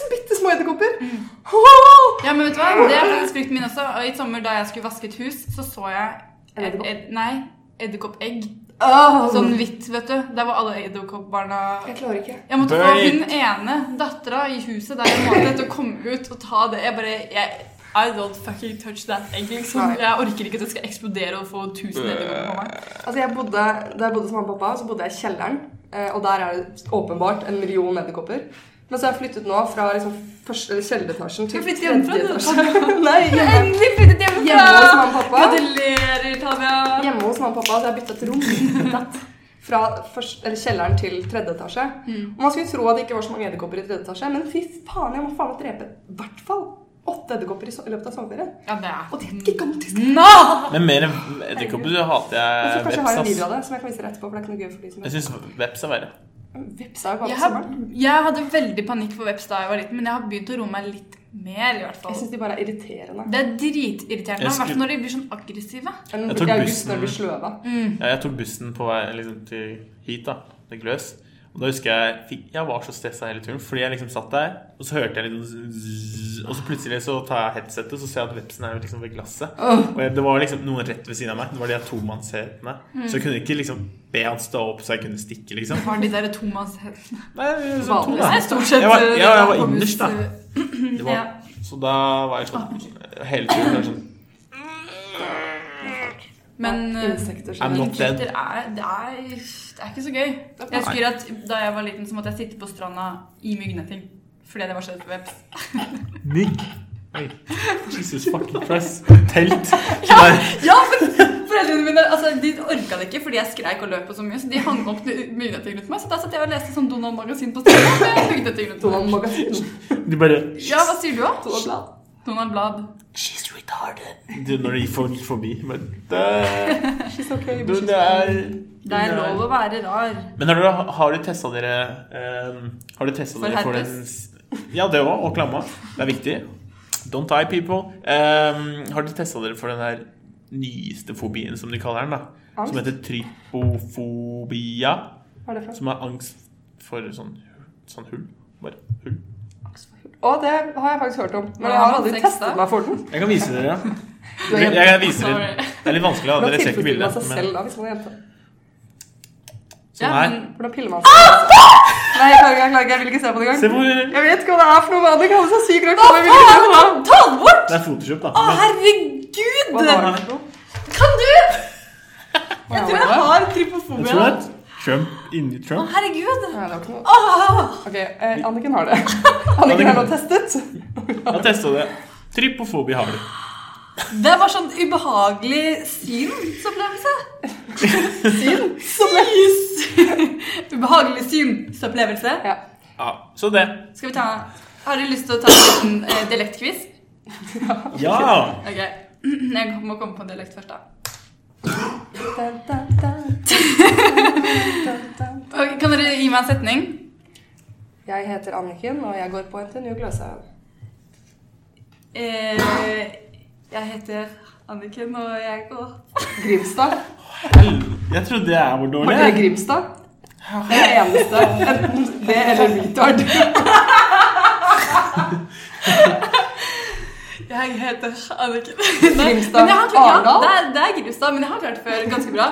[SPEAKER 3] bitte små edderkopper.
[SPEAKER 1] Mm.
[SPEAKER 3] Åh!
[SPEAKER 1] Ja, men vet du hva? Det er faktisk frykten min også. Og I sommer da jeg skulle vaske et hus, så så jeg
[SPEAKER 3] En
[SPEAKER 1] ed
[SPEAKER 3] edderkopp?
[SPEAKER 1] ed Nei, edderkoppegg.
[SPEAKER 3] Åh!
[SPEAKER 1] Sånn hvitt, vet du. Der var alle edderkoppbarna
[SPEAKER 3] Jeg klarer ikke.
[SPEAKER 1] Jeg måtte
[SPEAKER 2] Wait.
[SPEAKER 1] få hun ene dattera i huset der jeg måtte til å komme ut og ta det. Jeg bare jeg, I don't fucking touch that egg, liksom.
[SPEAKER 3] Nei.
[SPEAKER 1] Jeg orker ikke at det skal eksplodere og få tusen edderkopper på meg.
[SPEAKER 3] Altså jeg bodde, Da jeg bodde hos mamma og pappa, så bodde jeg i kjelleren. eh, Og der er det åpenbart en million edderkopper. Men så har jeg flyttet nå fra liksom første, eller kjelleretasjen
[SPEAKER 1] Du
[SPEAKER 3] til
[SPEAKER 1] har flyttet hjemmefra, du.
[SPEAKER 3] Nei, hjemme,
[SPEAKER 1] Endelig flyttet hjemmefra!
[SPEAKER 3] hjemme hos mamma og pappa.
[SPEAKER 1] Gratulerer, Tanja.
[SPEAKER 3] Hjemme hos mamma og pappa, så jeg har byttet rom. Natt. Fra først, eller kjelleren til tredje etasje.
[SPEAKER 1] Mm.
[SPEAKER 3] Og Man skulle tro at det ikke var så mange edderkopper i tredje etasje, men fy faen, jeg må faen meg drepe i hvert fall åtte edderkopper i, so i løpet av sommerferien.
[SPEAKER 1] Ja, det er
[SPEAKER 3] Og de er gigantiske.
[SPEAKER 1] Nå!
[SPEAKER 2] Men mer enn edderkopper så hater
[SPEAKER 3] Jeg tror
[SPEAKER 2] jeg
[SPEAKER 3] kanskje jeg har en
[SPEAKER 2] veps.
[SPEAKER 3] video
[SPEAKER 2] ass.
[SPEAKER 3] av det som jeg kan vise deg etterpå, for det er ikke noe gøy for de som
[SPEAKER 2] Jeg syns veps er verre.
[SPEAKER 3] Veps er jo bare
[SPEAKER 1] Jeg,
[SPEAKER 3] på
[SPEAKER 1] har,
[SPEAKER 3] sommeren.
[SPEAKER 1] jeg hadde veldig panikk for veps da jeg var liten, men jeg har begynt å roe meg litt mer. i hvert
[SPEAKER 3] Jeg
[SPEAKER 1] fall.
[SPEAKER 3] syns de bare er irriterende.
[SPEAKER 1] Det er dritirriterende,
[SPEAKER 2] Jeg
[SPEAKER 1] i hvert
[SPEAKER 2] skulle-
[SPEAKER 1] fall når de blir sånn aggressive.
[SPEAKER 3] Enn
[SPEAKER 2] Jeg tok
[SPEAKER 3] i august
[SPEAKER 2] bussen-
[SPEAKER 3] når du blir sløva.
[SPEAKER 1] Mm,
[SPEAKER 2] Ja, jeg tok bussen på vei liksom, til hit, da, til Gløs. Og da husker jeg fikk- Jeg var så stressa hele turen, fordi jeg liksom satt der, og så hørte jeg litt sånn zzz, Og så plutselig så tar jeg headsetet, så ser jeg at vepsen er jo liksom ved glasset. Og jeg, det var liksom noen rett ved siden av meg. Det var de her tomannshetene. Så jeg kunne ikke liksom be han stå opp så jeg kunne stikke, liksom.
[SPEAKER 1] Har de der tomannshetene
[SPEAKER 2] Nei, så to, da.
[SPEAKER 1] Nei, stort sett
[SPEAKER 2] Jeg var- ja, jeg var
[SPEAKER 1] eh,
[SPEAKER 2] innerst, da.
[SPEAKER 1] hus-
[SPEAKER 2] Det var, så da var jeg sånn hele turen bare sånn
[SPEAKER 1] Men
[SPEAKER 3] Ja,
[SPEAKER 1] eh,
[SPEAKER 3] insekter
[SPEAKER 2] I'm
[SPEAKER 3] generelt.
[SPEAKER 2] not dead.
[SPEAKER 1] Insekter er, det, er, det er ikke så gøy. Jeg husker at Da jeg var liten, så måtte jeg sitte på stranda i myggnetting. Fordi det var skjedd for veps.
[SPEAKER 2] Nick. Oi. Jesus fucking Christ. Telt. Nei.
[SPEAKER 1] Ja, men Foreldrene mine altså, de orka det ikke fordi jeg skreik og løp og så mye. Så de hang opp myggnetting rundt meg. Så da satt jeg og leste sånn Donald-magasin på stranda. med myggnetting rundt meg.
[SPEAKER 3] Donald Magasin.
[SPEAKER 2] De bare
[SPEAKER 1] Ja, hva sier du, da?
[SPEAKER 3] Donald Blad.
[SPEAKER 1] Donald Blad.
[SPEAKER 2] She's retarded. Du, når de får- gikk forbi men det,
[SPEAKER 3] She's
[SPEAKER 2] du,
[SPEAKER 3] okay, but she's
[SPEAKER 2] det er
[SPEAKER 1] Det er lov å være rar.
[SPEAKER 2] Men har dere, har dere testa dere eh, Har dere testet
[SPEAKER 1] For
[SPEAKER 2] dere for den
[SPEAKER 1] herpes?
[SPEAKER 2] Ja, det òg. Og klamma. Det er viktig. Don't die, people. Eh, har dere testa dere for den her nyeste fobien, som de kaller den? da
[SPEAKER 3] Angst?
[SPEAKER 2] Som heter trypofobia.
[SPEAKER 3] Hva er det for?
[SPEAKER 2] Som er angst for sånn, sånn hull. Bare hull.
[SPEAKER 3] Å, det har jeg faktisk hørt om. Men
[SPEAKER 1] Hva
[SPEAKER 3] jeg har
[SPEAKER 1] har man
[SPEAKER 3] aldri
[SPEAKER 1] sex, da?
[SPEAKER 3] testet meg for den.
[SPEAKER 2] Jeg kan vise dere.
[SPEAKER 3] Du er
[SPEAKER 2] Jeg,
[SPEAKER 3] jente.
[SPEAKER 2] jeg viser dere.
[SPEAKER 1] Sorry.
[SPEAKER 2] Det er litt vanskelig, da.
[SPEAKER 3] Hvordan
[SPEAKER 2] Dere ser ikke
[SPEAKER 3] tilfredsstiller man
[SPEAKER 2] bildet.
[SPEAKER 3] seg
[SPEAKER 2] Men
[SPEAKER 3] selv da, hvis man er jente?
[SPEAKER 1] Ja,
[SPEAKER 2] sånn her.
[SPEAKER 1] men
[SPEAKER 3] Hvordan piller
[SPEAKER 1] Ah,
[SPEAKER 3] man seg selv? Nei, jeg klarer ikke, jeg klarer ikke. Jeg vil ikke se på det
[SPEAKER 2] Se
[SPEAKER 3] engang.
[SPEAKER 2] hvor
[SPEAKER 3] Jeg vet ikke hva det er for noe vanlig. Kalle seg syk rart.
[SPEAKER 1] Hva
[SPEAKER 3] men jeg vil ikke se på det.
[SPEAKER 1] faen? Ta det bort!
[SPEAKER 2] Det er Photoshop, da.
[SPEAKER 1] Å,
[SPEAKER 2] Men-
[SPEAKER 3] Hva var
[SPEAKER 1] herregud!
[SPEAKER 3] det for noe?
[SPEAKER 1] Kan du?
[SPEAKER 3] Hva
[SPEAKER 1] Jeg tror
[SPEAKER 3] var
[SPEAKER 1] jeg
[SPEAKER 3] det?
[SPEAKER 1] har
[SPEAKER 2] Jeg tror det
[SPEAKER 1] trypofobia.
[SPEAKER 2] er Trump inni
[SPEAKER 1] Å,
[SPEAKER 2] Trump.
[SPEAKER 1] herregud.
[SPEAKER 3] Nei, det var ikke
[SPEAKER 1] Ah,
[SPEAKER 3] noe. Ok, eh, Anniken har det. Anniken har nå testet.
[SPEAKER 2] Jeg har testa det. Trypofobi har du.
[SPEAKER 1] Det var sånn ubehagelig synsopplevelse. Syn? ubehagelig synsopplevelse.
[SPEAKER 3] Ja.
[SPEAKER 2] Ja, så det.
[SPEAKER 1] Skal vi ta Har dere lyst til å ta en liten eh, dialektquiz?
[SPEAKER 2] Ja!
[SPEAKER 1] Ok. Jeg må komme på en dialekt først, da.
[SPEAKER 3] Da, da, da. Da, da.
[SPEAKER 1] Ok, kan dere gi meg en setning?
[SPEAKER 3] Jeg heter Anniken, og jeg går på NTNU Gløshaugen.
[SPEAKER 1] Eh, jeg heter Anniken, og jeg går
[SPEAKER 3] Grimstad.
[SPEAKER 2] Jeg trodde jeg var
[SPEAKER 3] Var dere
[SPEAKER 2] dårlig.
[SPEAKER 3] Grimstad? Det er det eneste. Enten det eller retard.
[SPEAKER 1] Jeg heter Anniken.
[SPEAKER 3] Grimstad.
[SPEAKER 1] Men jeg har klart- Ja,
[SPEAKER 3] Arendal?
[SPEAKER 1] det er, det er Grimstad, men jeg har klart det før ganske bra.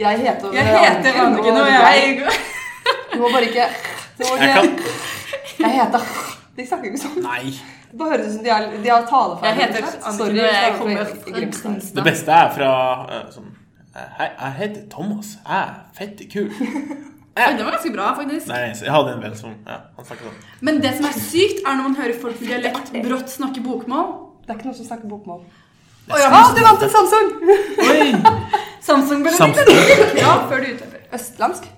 [SPEAKER 3] Jeg heter
[SPEAKER 1] Jeg heter Anniken, og jeg går
[SPEAKER 3] Du må bare ikke du må
[SPEAKER 2] Jeg kan,
[SPEAKER 3] ikke- Jeg heter De snakker ikke sånn.
[SPEAKER 2] Nei.
[SPEAKER 3] Det bare høres ut som de har, de har talefeil.
[SPEAKER 1] Jeg heter
[SPEAKER 3] rett og
[SPEAKER 1] Anniken,
[SPEAKER 3] slett. Sorry,
[SPEAKER 1] og jeg
[SPEAKER 3] fra-
[SPEAKER 1] kommer
[SPEAKER 3] fra
[SPEAKER 1] fra
[SPEAKER 3] Grimstad.
[SPEAKER 1] Grimstad.
[SPEAKER 2] Det beste er fra eh, sånn eh, Hei, jeg heter Thomas. Jeg er fette kul.
[SPEAKER 1] Oi, det var ganske bra, faktisk.
[SPEAKER 2] Nei, så jeg hadde en venn som ja, Han snakket sånn.
[SPEAKER 1] Men det som er sykt, er når man hører folk med dialekt brått snakke bokmål.
[SPEAKER 3] Det er ikke noen som snakker bokmål.
[SPEAKER 1] Å ja,
[SPEAKER 3] Å, Ah, du vant en Samsung!
[SPEAKER 2] Oi!
[SPEAKER 1] Samsung-belønning!
[SPEAKER 2] Samsung.
[SPEAKER 1] Ja, før du utløper.
[SPEAKER 3] Østlandsk.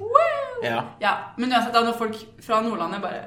[SPEAKER 2] Ja.
[SPEAKER 1] Ja, men uansett, da, når folk fra Nordlandet bare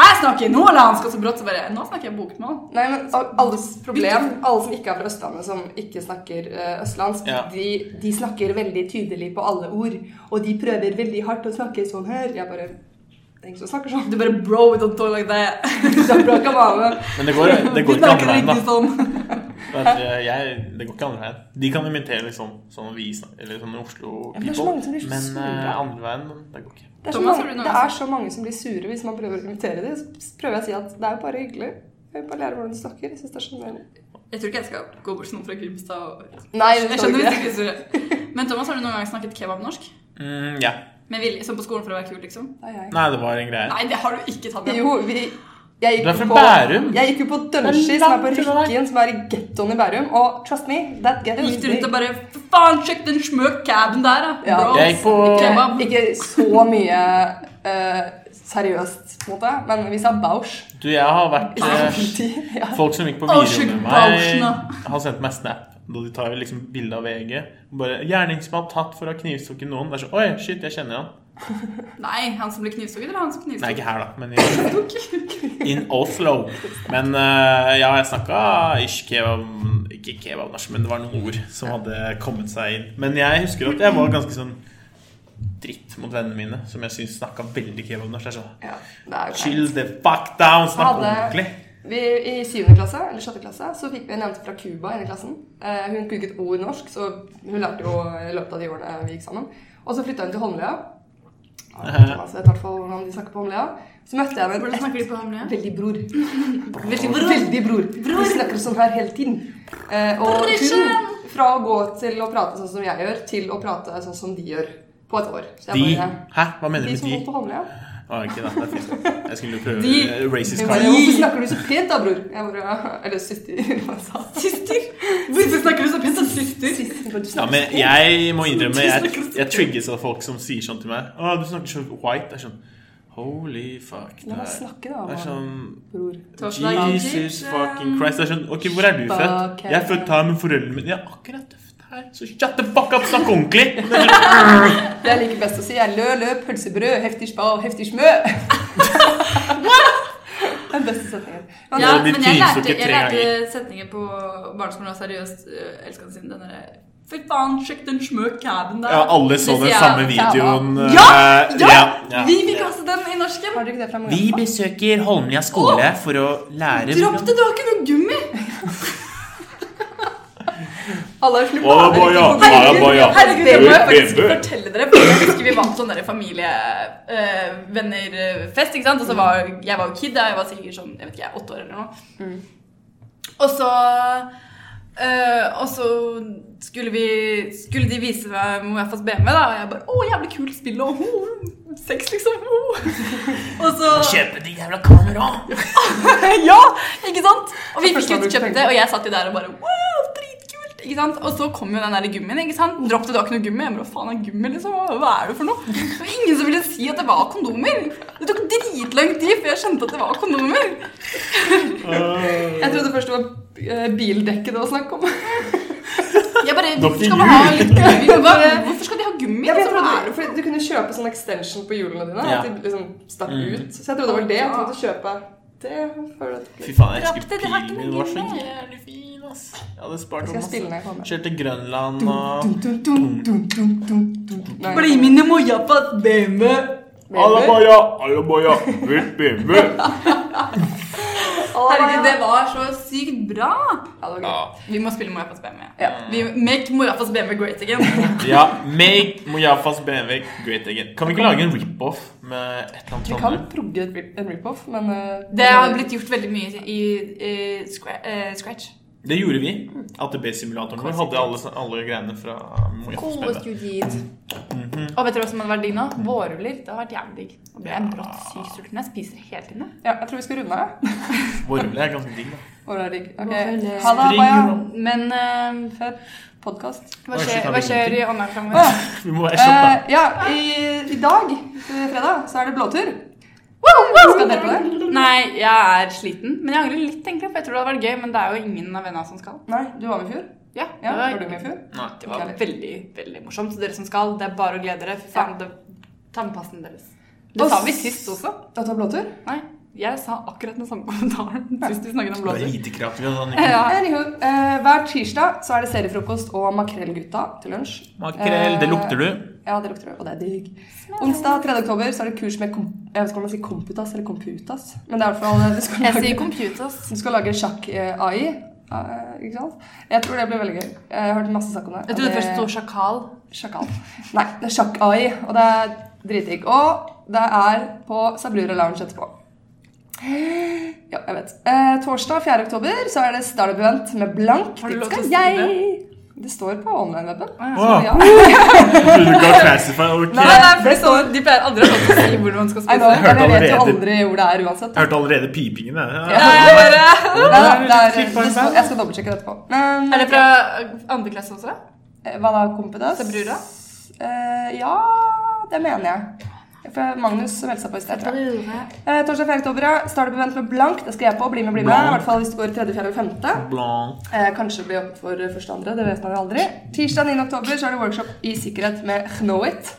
[SPEAKER 1] Jeg snakker nordlandsk! Og så brått så bare Nå snakker jeg bokmål.
[SPEAKER 3] Nei, men al- alles problem, alle som ikke er fra Østlandet, som ikke snakker eh, østlandsk,
[SPEAKER 2] Ja.
[SPEAKER 3] de, de snakker veldig tydelig på alle ord. Og de prøver veldig hardt å snakke sånn her. Jeg bare Det er ingen som snakker sånn.
[SPEAKER 1] Du bare Bro, don't talk like that.
[SPEAKER 3] Så bra kan være med.
[SPEAKER 2] Men det går, det
[SPEAKER 1] Du
[SPEAKER 2] går ikke andre
[SPEAKER 1] snakker
[SPEAKER 2] veien, da.
[SPEAKER 1] ikke sånn.
[SPEAKER 2] Det er at eh, jeg, det går ikke andre veien. De kan imitere liksom sånn vi snak- eller sånn
[SPEAKER 3] Ja, men det er så
[SPEAKER 2] Oslo-people,
[SPEAKER 3] mange som blir så
[SPEAKER 2] men
[SPEAKER 3] sure.
[SPEAKER 2] eh, andre veien det går ikke.
[SPEAKER 3] Det er, så
[SPEAKER 1] Thomas, har du
[SPEAKER 3] mange,
[SPEAKER 1] noe
[SPEAKER 3] det
[SPEAKER 1] å
[SPEAKER 3] er så mange som blir sure hvis man prøver å invitere dem. Så prøver jeg å si at det er jo bare hyggelig. Jeg vil bare lære hvordan du snakker. Jeg synes det er sjarmerende.
[SPEAKER 1] Jeg tror ikke jeg skal gå bort til noen fra Grimstad og
[SPEAKER 3] Nei,
[SPEAKER 1] Jeg
[SPEAKER 3] det
[SPEAKER 1] skjønner
[SPEAKER 3] står
[SPEAKER 1] hvis
[SPEAKER 3] ikke.
[SPEAKER 1] ikke surre. Men Thomas, har du noen gang snakket kebabnorsk?
[SPEAKER 2] Mm, ja.
[SPEAKER 1] Med vilje, som på skolen for å være kul, liksom?
[SPEAKER 3] Det er jeg.
[SPEAKER 2] Nei, det var en greie.
[SPEAKER 1] Nei, det har du ikke tatt.
[SPEAKER 3] Jo, vi jeg gikk
[SPEAKER 2] Du er fra
[SPEAKER 3] på-
[SPEAKER 2] Bærum.
[SPEAKER 3] Jeg gikk jo på Dønsky, som er på Rykkien, som er i gettoen i Bærum. Og trust me, that ghetto
[SPEAKER 1] Gikk
[SPEAKER 3] is
[SPEAKER 1] du rundt og
[SPEAKER 3] big.
[SPEAKER 1] bare For faen, sjekk den smøk caben der, da!
[SPEAKER 3] Ja.
[SPEAKER 1] bros!»
[SPEAKER 2] Jeg gikk på
[SPEAKER 1] Kebab.
[SPEAKER 3] Eh, Ikke så mye eh, seriøst, på en måte, men vi sa Bausch.
[SPEAKER 2] Du, jeg har vært eh,
[SPEAKER 3] Politi, ja.
[SPEAKER 2] Folk som gikk på
[SPEAKER 1] Å,
[SPEAKER 2] videregående
[SPEAKER 1] skyld,
[SPEAKER 2] med meg,
[SPEAKER 1] Bauschna. har
[SPEAKER 2] har sendt meg snap. Da de tar liksom bilde av VG. Bare 'Gjerningsmann tatt for å ha knivstukket noen'. Det er sånn 'Oi, shit, jeg kjenner han'.
[SPEAKER 1] Nei, han som ble knivstukket, eller han som
[SPEAKER 2] Nei, ikke
[SPEAKER 1] knivstukket?
[SPEAKER 2] her, da, men i In Oslo. Men eh, ja, jeg snakka ish kebab Ikke kebabnorsk, men det var noen ord som hadde kommet seg inn. Men jeg husker at jeg var ganske sånn dritt mot vennene mine, som jeg syns snakka veldig kebabnorsk. Jeg er sånn
[SPEAKER 3] Ja, det er jo kleint.
[SPEAKER 2] Chill the fuck down! Snakk
[SPEAKER 3] Hadde-
[SPEAKER 2] ordentlig.
[SPEAKER 3] Vi, I 7. klasse, eller 6. klasse, så fikk vi en jente fra Cuba inn i klassen. Eh, hun kunne ikke et ord norsk, så hun lærte jo i løpet av de årene vi gikk sammen. Og så flytta hun til Holmlia. Thomas vet altså i hvert fall hvordan de snakker på Holmlia. Så møtte jeg
[SPEAKER 1] Hvordan
[SPEAKER 3] henne
[SPEAKER 1] snakker de på Hamlia?
[SPEAKER 3] Veldig bror.
[SPEAKER 1] Veldig bror.
[SPEAKER 3] Veldig bror. Vi snakker sånn her hele tiden. Eh, og hun, fra å gå til å prate sånn som jeg gjør, til å prate sånn som de gjør, på et år. Så
[SPEAKER 2] De?
[SPEAKER 3] jeg
[SPEAKER 2] Hæ? Hva mener du
[SPEAKER 3] de
[SPEAKER 2] med
[SPEAKER 3] som
[SPEAKER 2] de?
[SPEAKER 3] bor på Holmlia.
[SPEAKER 2] Å, ikke da, det er fint. Jeg skulle jo prøve
[SPEAKER 1] De-
[SPEAKER 2] racist
[SPEAKER 3] Hun
[SPEAKER 2] card.
[SPEAKER 3] bare, Hvorfor snakker du så pent da, bror? Jeg bare, Eller søster, hva jeg sa.
[SPEAKER 1] Sister? Hvorfor snakker du så pent om sister?
[SPEAKER 2] Ja, men jeg må innrømme, jeg, jeg trigges av folk som sier sånn til meg. Å, du snakker så white. Det er sånn Holy fuck.
[SPEAKER 3] La
[SPEAKER 2] Det
[SPEAKER 3] meg
[SPEAKER 2] er,
[SPEAKER 3] snakke, da.
[SPEAKER 2] det er sånn
[SPEAKER 3] bror.
[SPEAKER 2] Jesus fucking Christ. Det er sånn Ok, hvor er du født? Jeg er født her med foreldrene mine. Ja, akkurat her. Så shut the fuck up, snakk ordentlig! Det er sånn,
[SPEAKER 3] Det jeg liker best å si, er lø, lø, pølsebrød, heftig spa og heftig smø. Den beste setningen. Men,
[SPEAKER 1] Ja,
[SPEAKER 2] Det blir
[SPEAKER 1] men jeg lærte,
[SPEAKER 2] knivstukket
[SPEAKER 1] jeg
[SPEAKER 2] tre ganger.
[SPEAKER 1] lærte setninger på barneskolen og seriøst øh, elsker den siden. Den derre Fy faen, sjekk den smøk caben der.
[SPEAKER 2] ja, alle
[SPEAKER 1] Det
[SPEAKER 2] så den
[SPEAKER 1] sier jeg.
[SPEAKER 2] samme videoen. eh,
[SPEAKER 1] Ja! Ja!
[SPEAKER 2] ja.
[SPEAKER 1] Vi fikk også den i norsken.
[SPEAKER 3] Har du ikke det fra
[SPEAKER 2] Vi
[SPEAKER 3] Mallorca?
[SPEAKER 2] besøker Holmlia skole for å lære
[SPEAKER 1] Dropp det, du har ikke noe gummi!
[SPEAKER 3] Alle har slutt
[SPEAKER 2] Å,
[SPEAKER 3] på
[SPEAKER 2] boy, ja. Ja, boy, ja.
[SPEAKER 1] Herregud, jeg må jo
[SPEAKER 2] Baby.
[SPEAKER 1] faktisk fortelle dere for Jeg husker vi var på sånn eh, familievennerfest, ikke sant? Og så var jeg var jo kid da, jeg var sikkert sånn, jeg vet ikke, åtte år eller noe. Og så eh, og så skulle, vi, skulle de vise meg Moafas BMW, da, og jeg bare 'Å, jævlig kult spill', og oh, sex, liksom. Oh. Og så
[SPEAKER 2] Kjøpe de jævla kameraene!
[SPEAKER 1] ja, ikke sant? Og vi
[SPEAKER 3] Det
[SPEAKER 1] fikk
[SPEAKER 3] første
[SPEAKER 1] jo
[SPEAKER 3] du
[SPEAKER 1] kjøpt
[SPEAKER 3] tenkte.
[SPEAKER 1] det, og jeg satt jo der og bare wow, dritkult, ikke sant? Og så kom jo den der gummien, ikke sant? Dropp det, du har ikke noe gummi. Jeg bare, hva faen er gummi, liksom? Hva- Hva er det for noe? Det var ingen som ville si at det var kondomer. Det tok dritlang tid før jeg skjønte at det var kondomer.
[SPEAKER 3] Jeg trodde først det var eh, bildekket det var snakk om.
[SPEAKER 1] Jeg bare,
[SPEAKER 2] Dere
[SPEAKER 1] hvorfor skal man ha
[SPEAKER 2] ljug.
[SPEAKER 1] litt gummi? Hva- Hvorfor skal de ha gummi?
[SPEAKER 3] Jeg vet
[SPEAKER 1] liksom?
[SPEAKER 3] hva
[SPEAKER 1] Hva
[SPEAKER 3] det
[SPEAKER 1] er
[SPEAKER 3] er,
[SPEAKER 1] det?
[SPEAKER 3] for Du kunne kjøpe sånn extension på hjulene dine.
[SPEAKER 2] Ja.
[SPEAKER 3] At de liksom stakk
[SPEAKER 2] Mm.
[SPEAKER 3] ut. Så jeg trodde det var det. Jeg måtte kjøpe det. For
[SPEAKER 2] Fy
[SPEAKER 3] at...
[SPEAKER 2] faen, jeg
[SPEAKER 1] Dropp det,
[SPEAKER 2] husker
[SPEAKER 1] det har ikke
[SPEAKER 2] pilen min
[SPEAKER 1] noe
[SPEAKER 2] var så
[SPEAKER 1] gummi.
[SPEAKER 2] jævlig fin, ass. Jeg hadde spart
[SPEAKER 3] Skal
[SPEAKER 2] opp
[SPEAKER 3] jeg spille
[SPEAKER 2] masse.
[SPEAKER 3] når jeg kommer?
[SPEAKER 2] Kjørte til Grønland og
[SPEAKER 3] Dun, dun, dun, dun, dun, dun. Nei.
[SPEAKER 1] Bli med inn i Mojafas BMW.
[SPEAKER 2] Alla boya, alla boya, vilt BMW.
[SPEAKER 1] Herregud, det var så sykt bra.
[SPEAKER 3] Ja, det var gøy.
[SPEAKER 2] Ja.
[SPEAKER 1] Vi må spille Mojafas BMW.
[SPEAKER 3] Ja.
[SPEAKER 1] Vi make Mojafas BMW great again.
[SPEAKER 2] ja, make Mojafas BMW great again. Kan vi ikke lage en rip-off med et eller annet
[SPEAKER 3] Vi kan
[SPEAKER 2] Trondheim?
[SPEAKER 3] progge et rip- en rip-off, men eh,
[SPEAKER 1] Det har blitt gjort veldig mye i, i, eh, scra- eh, Scratch.
[SPEAKER 2] Det gjorde vi. ATB-simulatoren vår hadde alle, alle greiene fra Mo i
[SPEAKER 3] Gode
[SPEAKER 2] Jazzspillet.
[SPEAKER 3] studier.
[SPEAKER 1] Og vet dere hva som hadde vært digg nå? Vårruller. Det hadde vært jævlig digg. Nå ble jeg brått sykt sulten. Jeg spiser hele tiden. jeg.
[SPEAKER 3] Ja, jeg tror vi skal runde av. ja.
[SPEAKER 2] Vårrulle er ganske digg, da.
[SPEAKER 3] Å, det er digg. Ok.
[SPEAKER 4] Vårruller.
[SPEAKER 3] Ha det,
[SPEAKER 2] Spring
[SPEAKER 3] Maja.
[SPEAKER 2] rundt.
[SPEAKER 1] Men eh,
[SPEAKER 3] Før podkast.
[SPEAKER 1] hva
[SPEAKER 2] Oi, shit,
[SPEAKER 1] skjer,
[SPEAKER 2] har
[SPEAKER 1] hva
[SPEAKER 2] vi
[SPEAKER 1] skjer i
[SPEAKER 2] ingenting?
[SPEAKER 1] online framover?
[SPEAKER 2] Vi må være kjappe.
[SPEAKER 3] Eh, ja, i, i dag, eh, fredag, så er det blåtur. Skal dere på det?
[SPEAKER 1] Nei, jeg er sliten. Men jeg angrer litt, egentlig, for jeg tror det hadde vært gøy. Men det er jo ingen av vennene som skal.
[SPEAKER 3] Nei, du var med i fjor.
[SPEAKER 1] Ja,
[SPEAKER 3] Ja,
[SPEAKER 1] det
[SPEAKER 3] var
[SPEAKER 1] var,
[SPEAKER 3] du med i fjor?
[SPEAKER 2] Nei.
[SPEAKER 1] det var veldig, veldig morsomt. Så dere som skal, det er bare å glede dere. Fy faen, det, ta med passen deres. Det
[SPEAKER 3] Og
[SPEAKER 1] sa vi
[SPEAKER 3] s-
[SPEAKER 1] sist også.
[SPEAKER 3] At du har blåtur?
[SPEAKER 1] Nei, jeg sa akkurat den samme kommentaren sist vi snakket om
[SPEAKER 2] Det er
[SPEAKER 1] blåser.
[SPEAKER 2] lite kreativt. Sånn.
[SPEAKER 1] Ja.
[SPEAKER 3] Anywho, eh, hver tirsdag så er det seriefrokost og Makrellgutta til lunsj. Eh,
[SPEAKER 2] Makrell, det lukter du.
[SPEAKER 3] Ja, det lukter det, og det er digg. Onsdag 3. oktober så er det kurs med kom jeg vet ikke om man sier Komputas eller Komputas. Men det er i hvert fall du skal
[SPEAKER 1] Jeg sier
[SPEAKER 3] lage,
[SPEAKER 1] computers.
[SPEAKER 3] du skal lage eh, sjakk-AI. eh, ikke sant? Jeg tror det blir veldig gøy. Jeg har hørt masse snakk om det.
[SPEAKER 1] Jeg
[SPEAKER 3] og
[SPEAKER 1] trodde
[SPEAKER 3] det-
[SPEAKER 1] først det sto sjakal.
[SPEAKER 3] Sjakal. Nei, det er sjakk-AI, og det er dritdigg. Og det er på Sabrura Lounge etterpå. Ja, jeg vet. Eh, torsdag 4. oktober så er det Startup Event med blank.
[SPEAKER 1] Har du
[SPEAKER 3] Dit
[SPEAKER 1] lov til
[SPEAKER 3] skal
[SPEAKER 1] å skrive?
[SPEAKER 3] jeg! Det står på online-weben.
[SPEAKER 2] Wow.
[SPEAKER 3] Ja.
[SPEAKER 2] Du ga classify, ok.
[SPEAKER 1] Nei,
[SPEAKER 3] Nei,
[SPEAKER 2] Jeg
[SPEAKER 1] nei, for sånn, De pleier aldri å si hvor man skal
[SPEAKER 3] I
[SPEAKER 1] spise.
[SPEAKER 3] know,
[SPEAKER 2] hørte
[SPEAKER 3] men jeg vet jo
[SPEAKER 2] allerede.
[SPEAKER 3] aldri hvor det er uansett.
[SPEAKER 2] hørte allerede pipingen. jeg. Ja.
[SPEAKER 1] Nei, jeg bare...
[SPEAKER 3] Nei, da, det er,
[SPEAKER 2] Klipp på en
[SPEAKER 3] det står,
[SPEAKER 2] band.
[SPEAKER 3] jeg skal dobbeltsjekke det etterpå. Men,
[SPEAKER 1] Er det fra andre klasse også?
[SPEAKER 3] eh, hva da, kompetens?
[SPEAKER 1] Sabrura?
[SPEAKER 3] Eh, ja, det mener jeg. For Magnus meldte seg på i sted. tror jeg. Eh, torsdag 4. oktober ja. Startup Event med blank. Det skal jeg på. Bli med, bli med. I
[SPEAKER 2] Blank.
[SPEAKER 3] hvert fall hvis det går 3., 4. og 5.
[SPEAKER 2] Blanc.
[SPEAKER 3] Eh, kanskje bli åpnet for første og andre. Det vet man jo aldri. Tirsdag 9. oktober så er det workshop i sikkerhet med Knowit.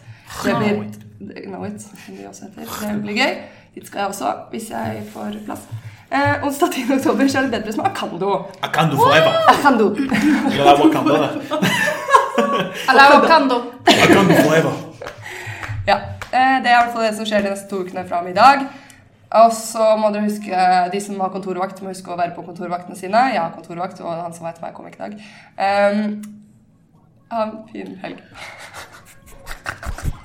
[SPEAKER 3] Det blir det- Knowit, som de også heter. Det blir gøy. Dit skal jeg også, hvis jeg får plass. Eh, onsdag 10. oktober så er det Bedre som Akando.
[SPEAKER 2] Akando forever.
[SPEAKER 3] Akando.
[SPEAKER 2] Ja, det er Wakanda, det.
[SPEAKER 1] Eller Wakando.
[SPEAKER 2] Akando forever.
[SPEAKER 3] Ja, eh, Det er i hvert fall det som skjer de neste to ukene fra og med i dag. Og så må dere huske, eh, De som har kontorvakt, må huske å være på kontorvaktene sine. Jeg har kontorvakt, og han som var etter meg, kom ikke i dag. Eh, ha en fin helg.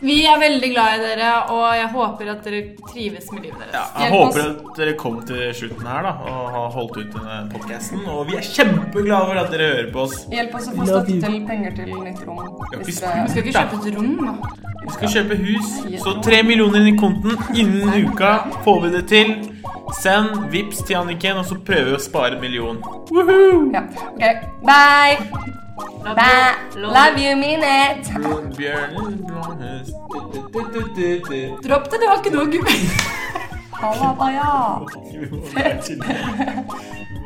[SPEAKER 1] Vi er veldig glad i dere, og jeg håper at dere trives med livet deres.
[SPEAKER 2] Jeg
[SPEAKER 3] Hjelp oss.
[SPEAKER 2] håper at dere kom til slutten her da, og har holdt ut denne podcasten. Og vi er kjempeglade for at dere hører på oss.
[SPEAKER 3] Hjelp oss å få støtte til penger til nytt rom.
[SPEAKER 2] Ja,
[SPEAKER 3] Hvis
[SPEAKER 2] hvis-
[SPEAKER 1] Vi
[SPEAKER 3] dere
[SPEAKER 1] skal ikke kjøpe et rom, da.
[SPEAKER 2] Vi skal kjøpe hus, så tre millioner inn i konten innen uka. Får vi det til? Send vips til Anniken, og så prøver vi å spare en million.
[SPEAKER 3] ja. Ok, bye! Bye! Love you, mean it!
[SPEAKER 2] Brun bjørn, brun hus. Du-du-du-du-du.
[SPEAKER 1] Dropp det, du har ikke noe gubbe.
[SPEAKER 3] Ha det, da, ja.
[SPEAKER 2] Vi må være tydelige.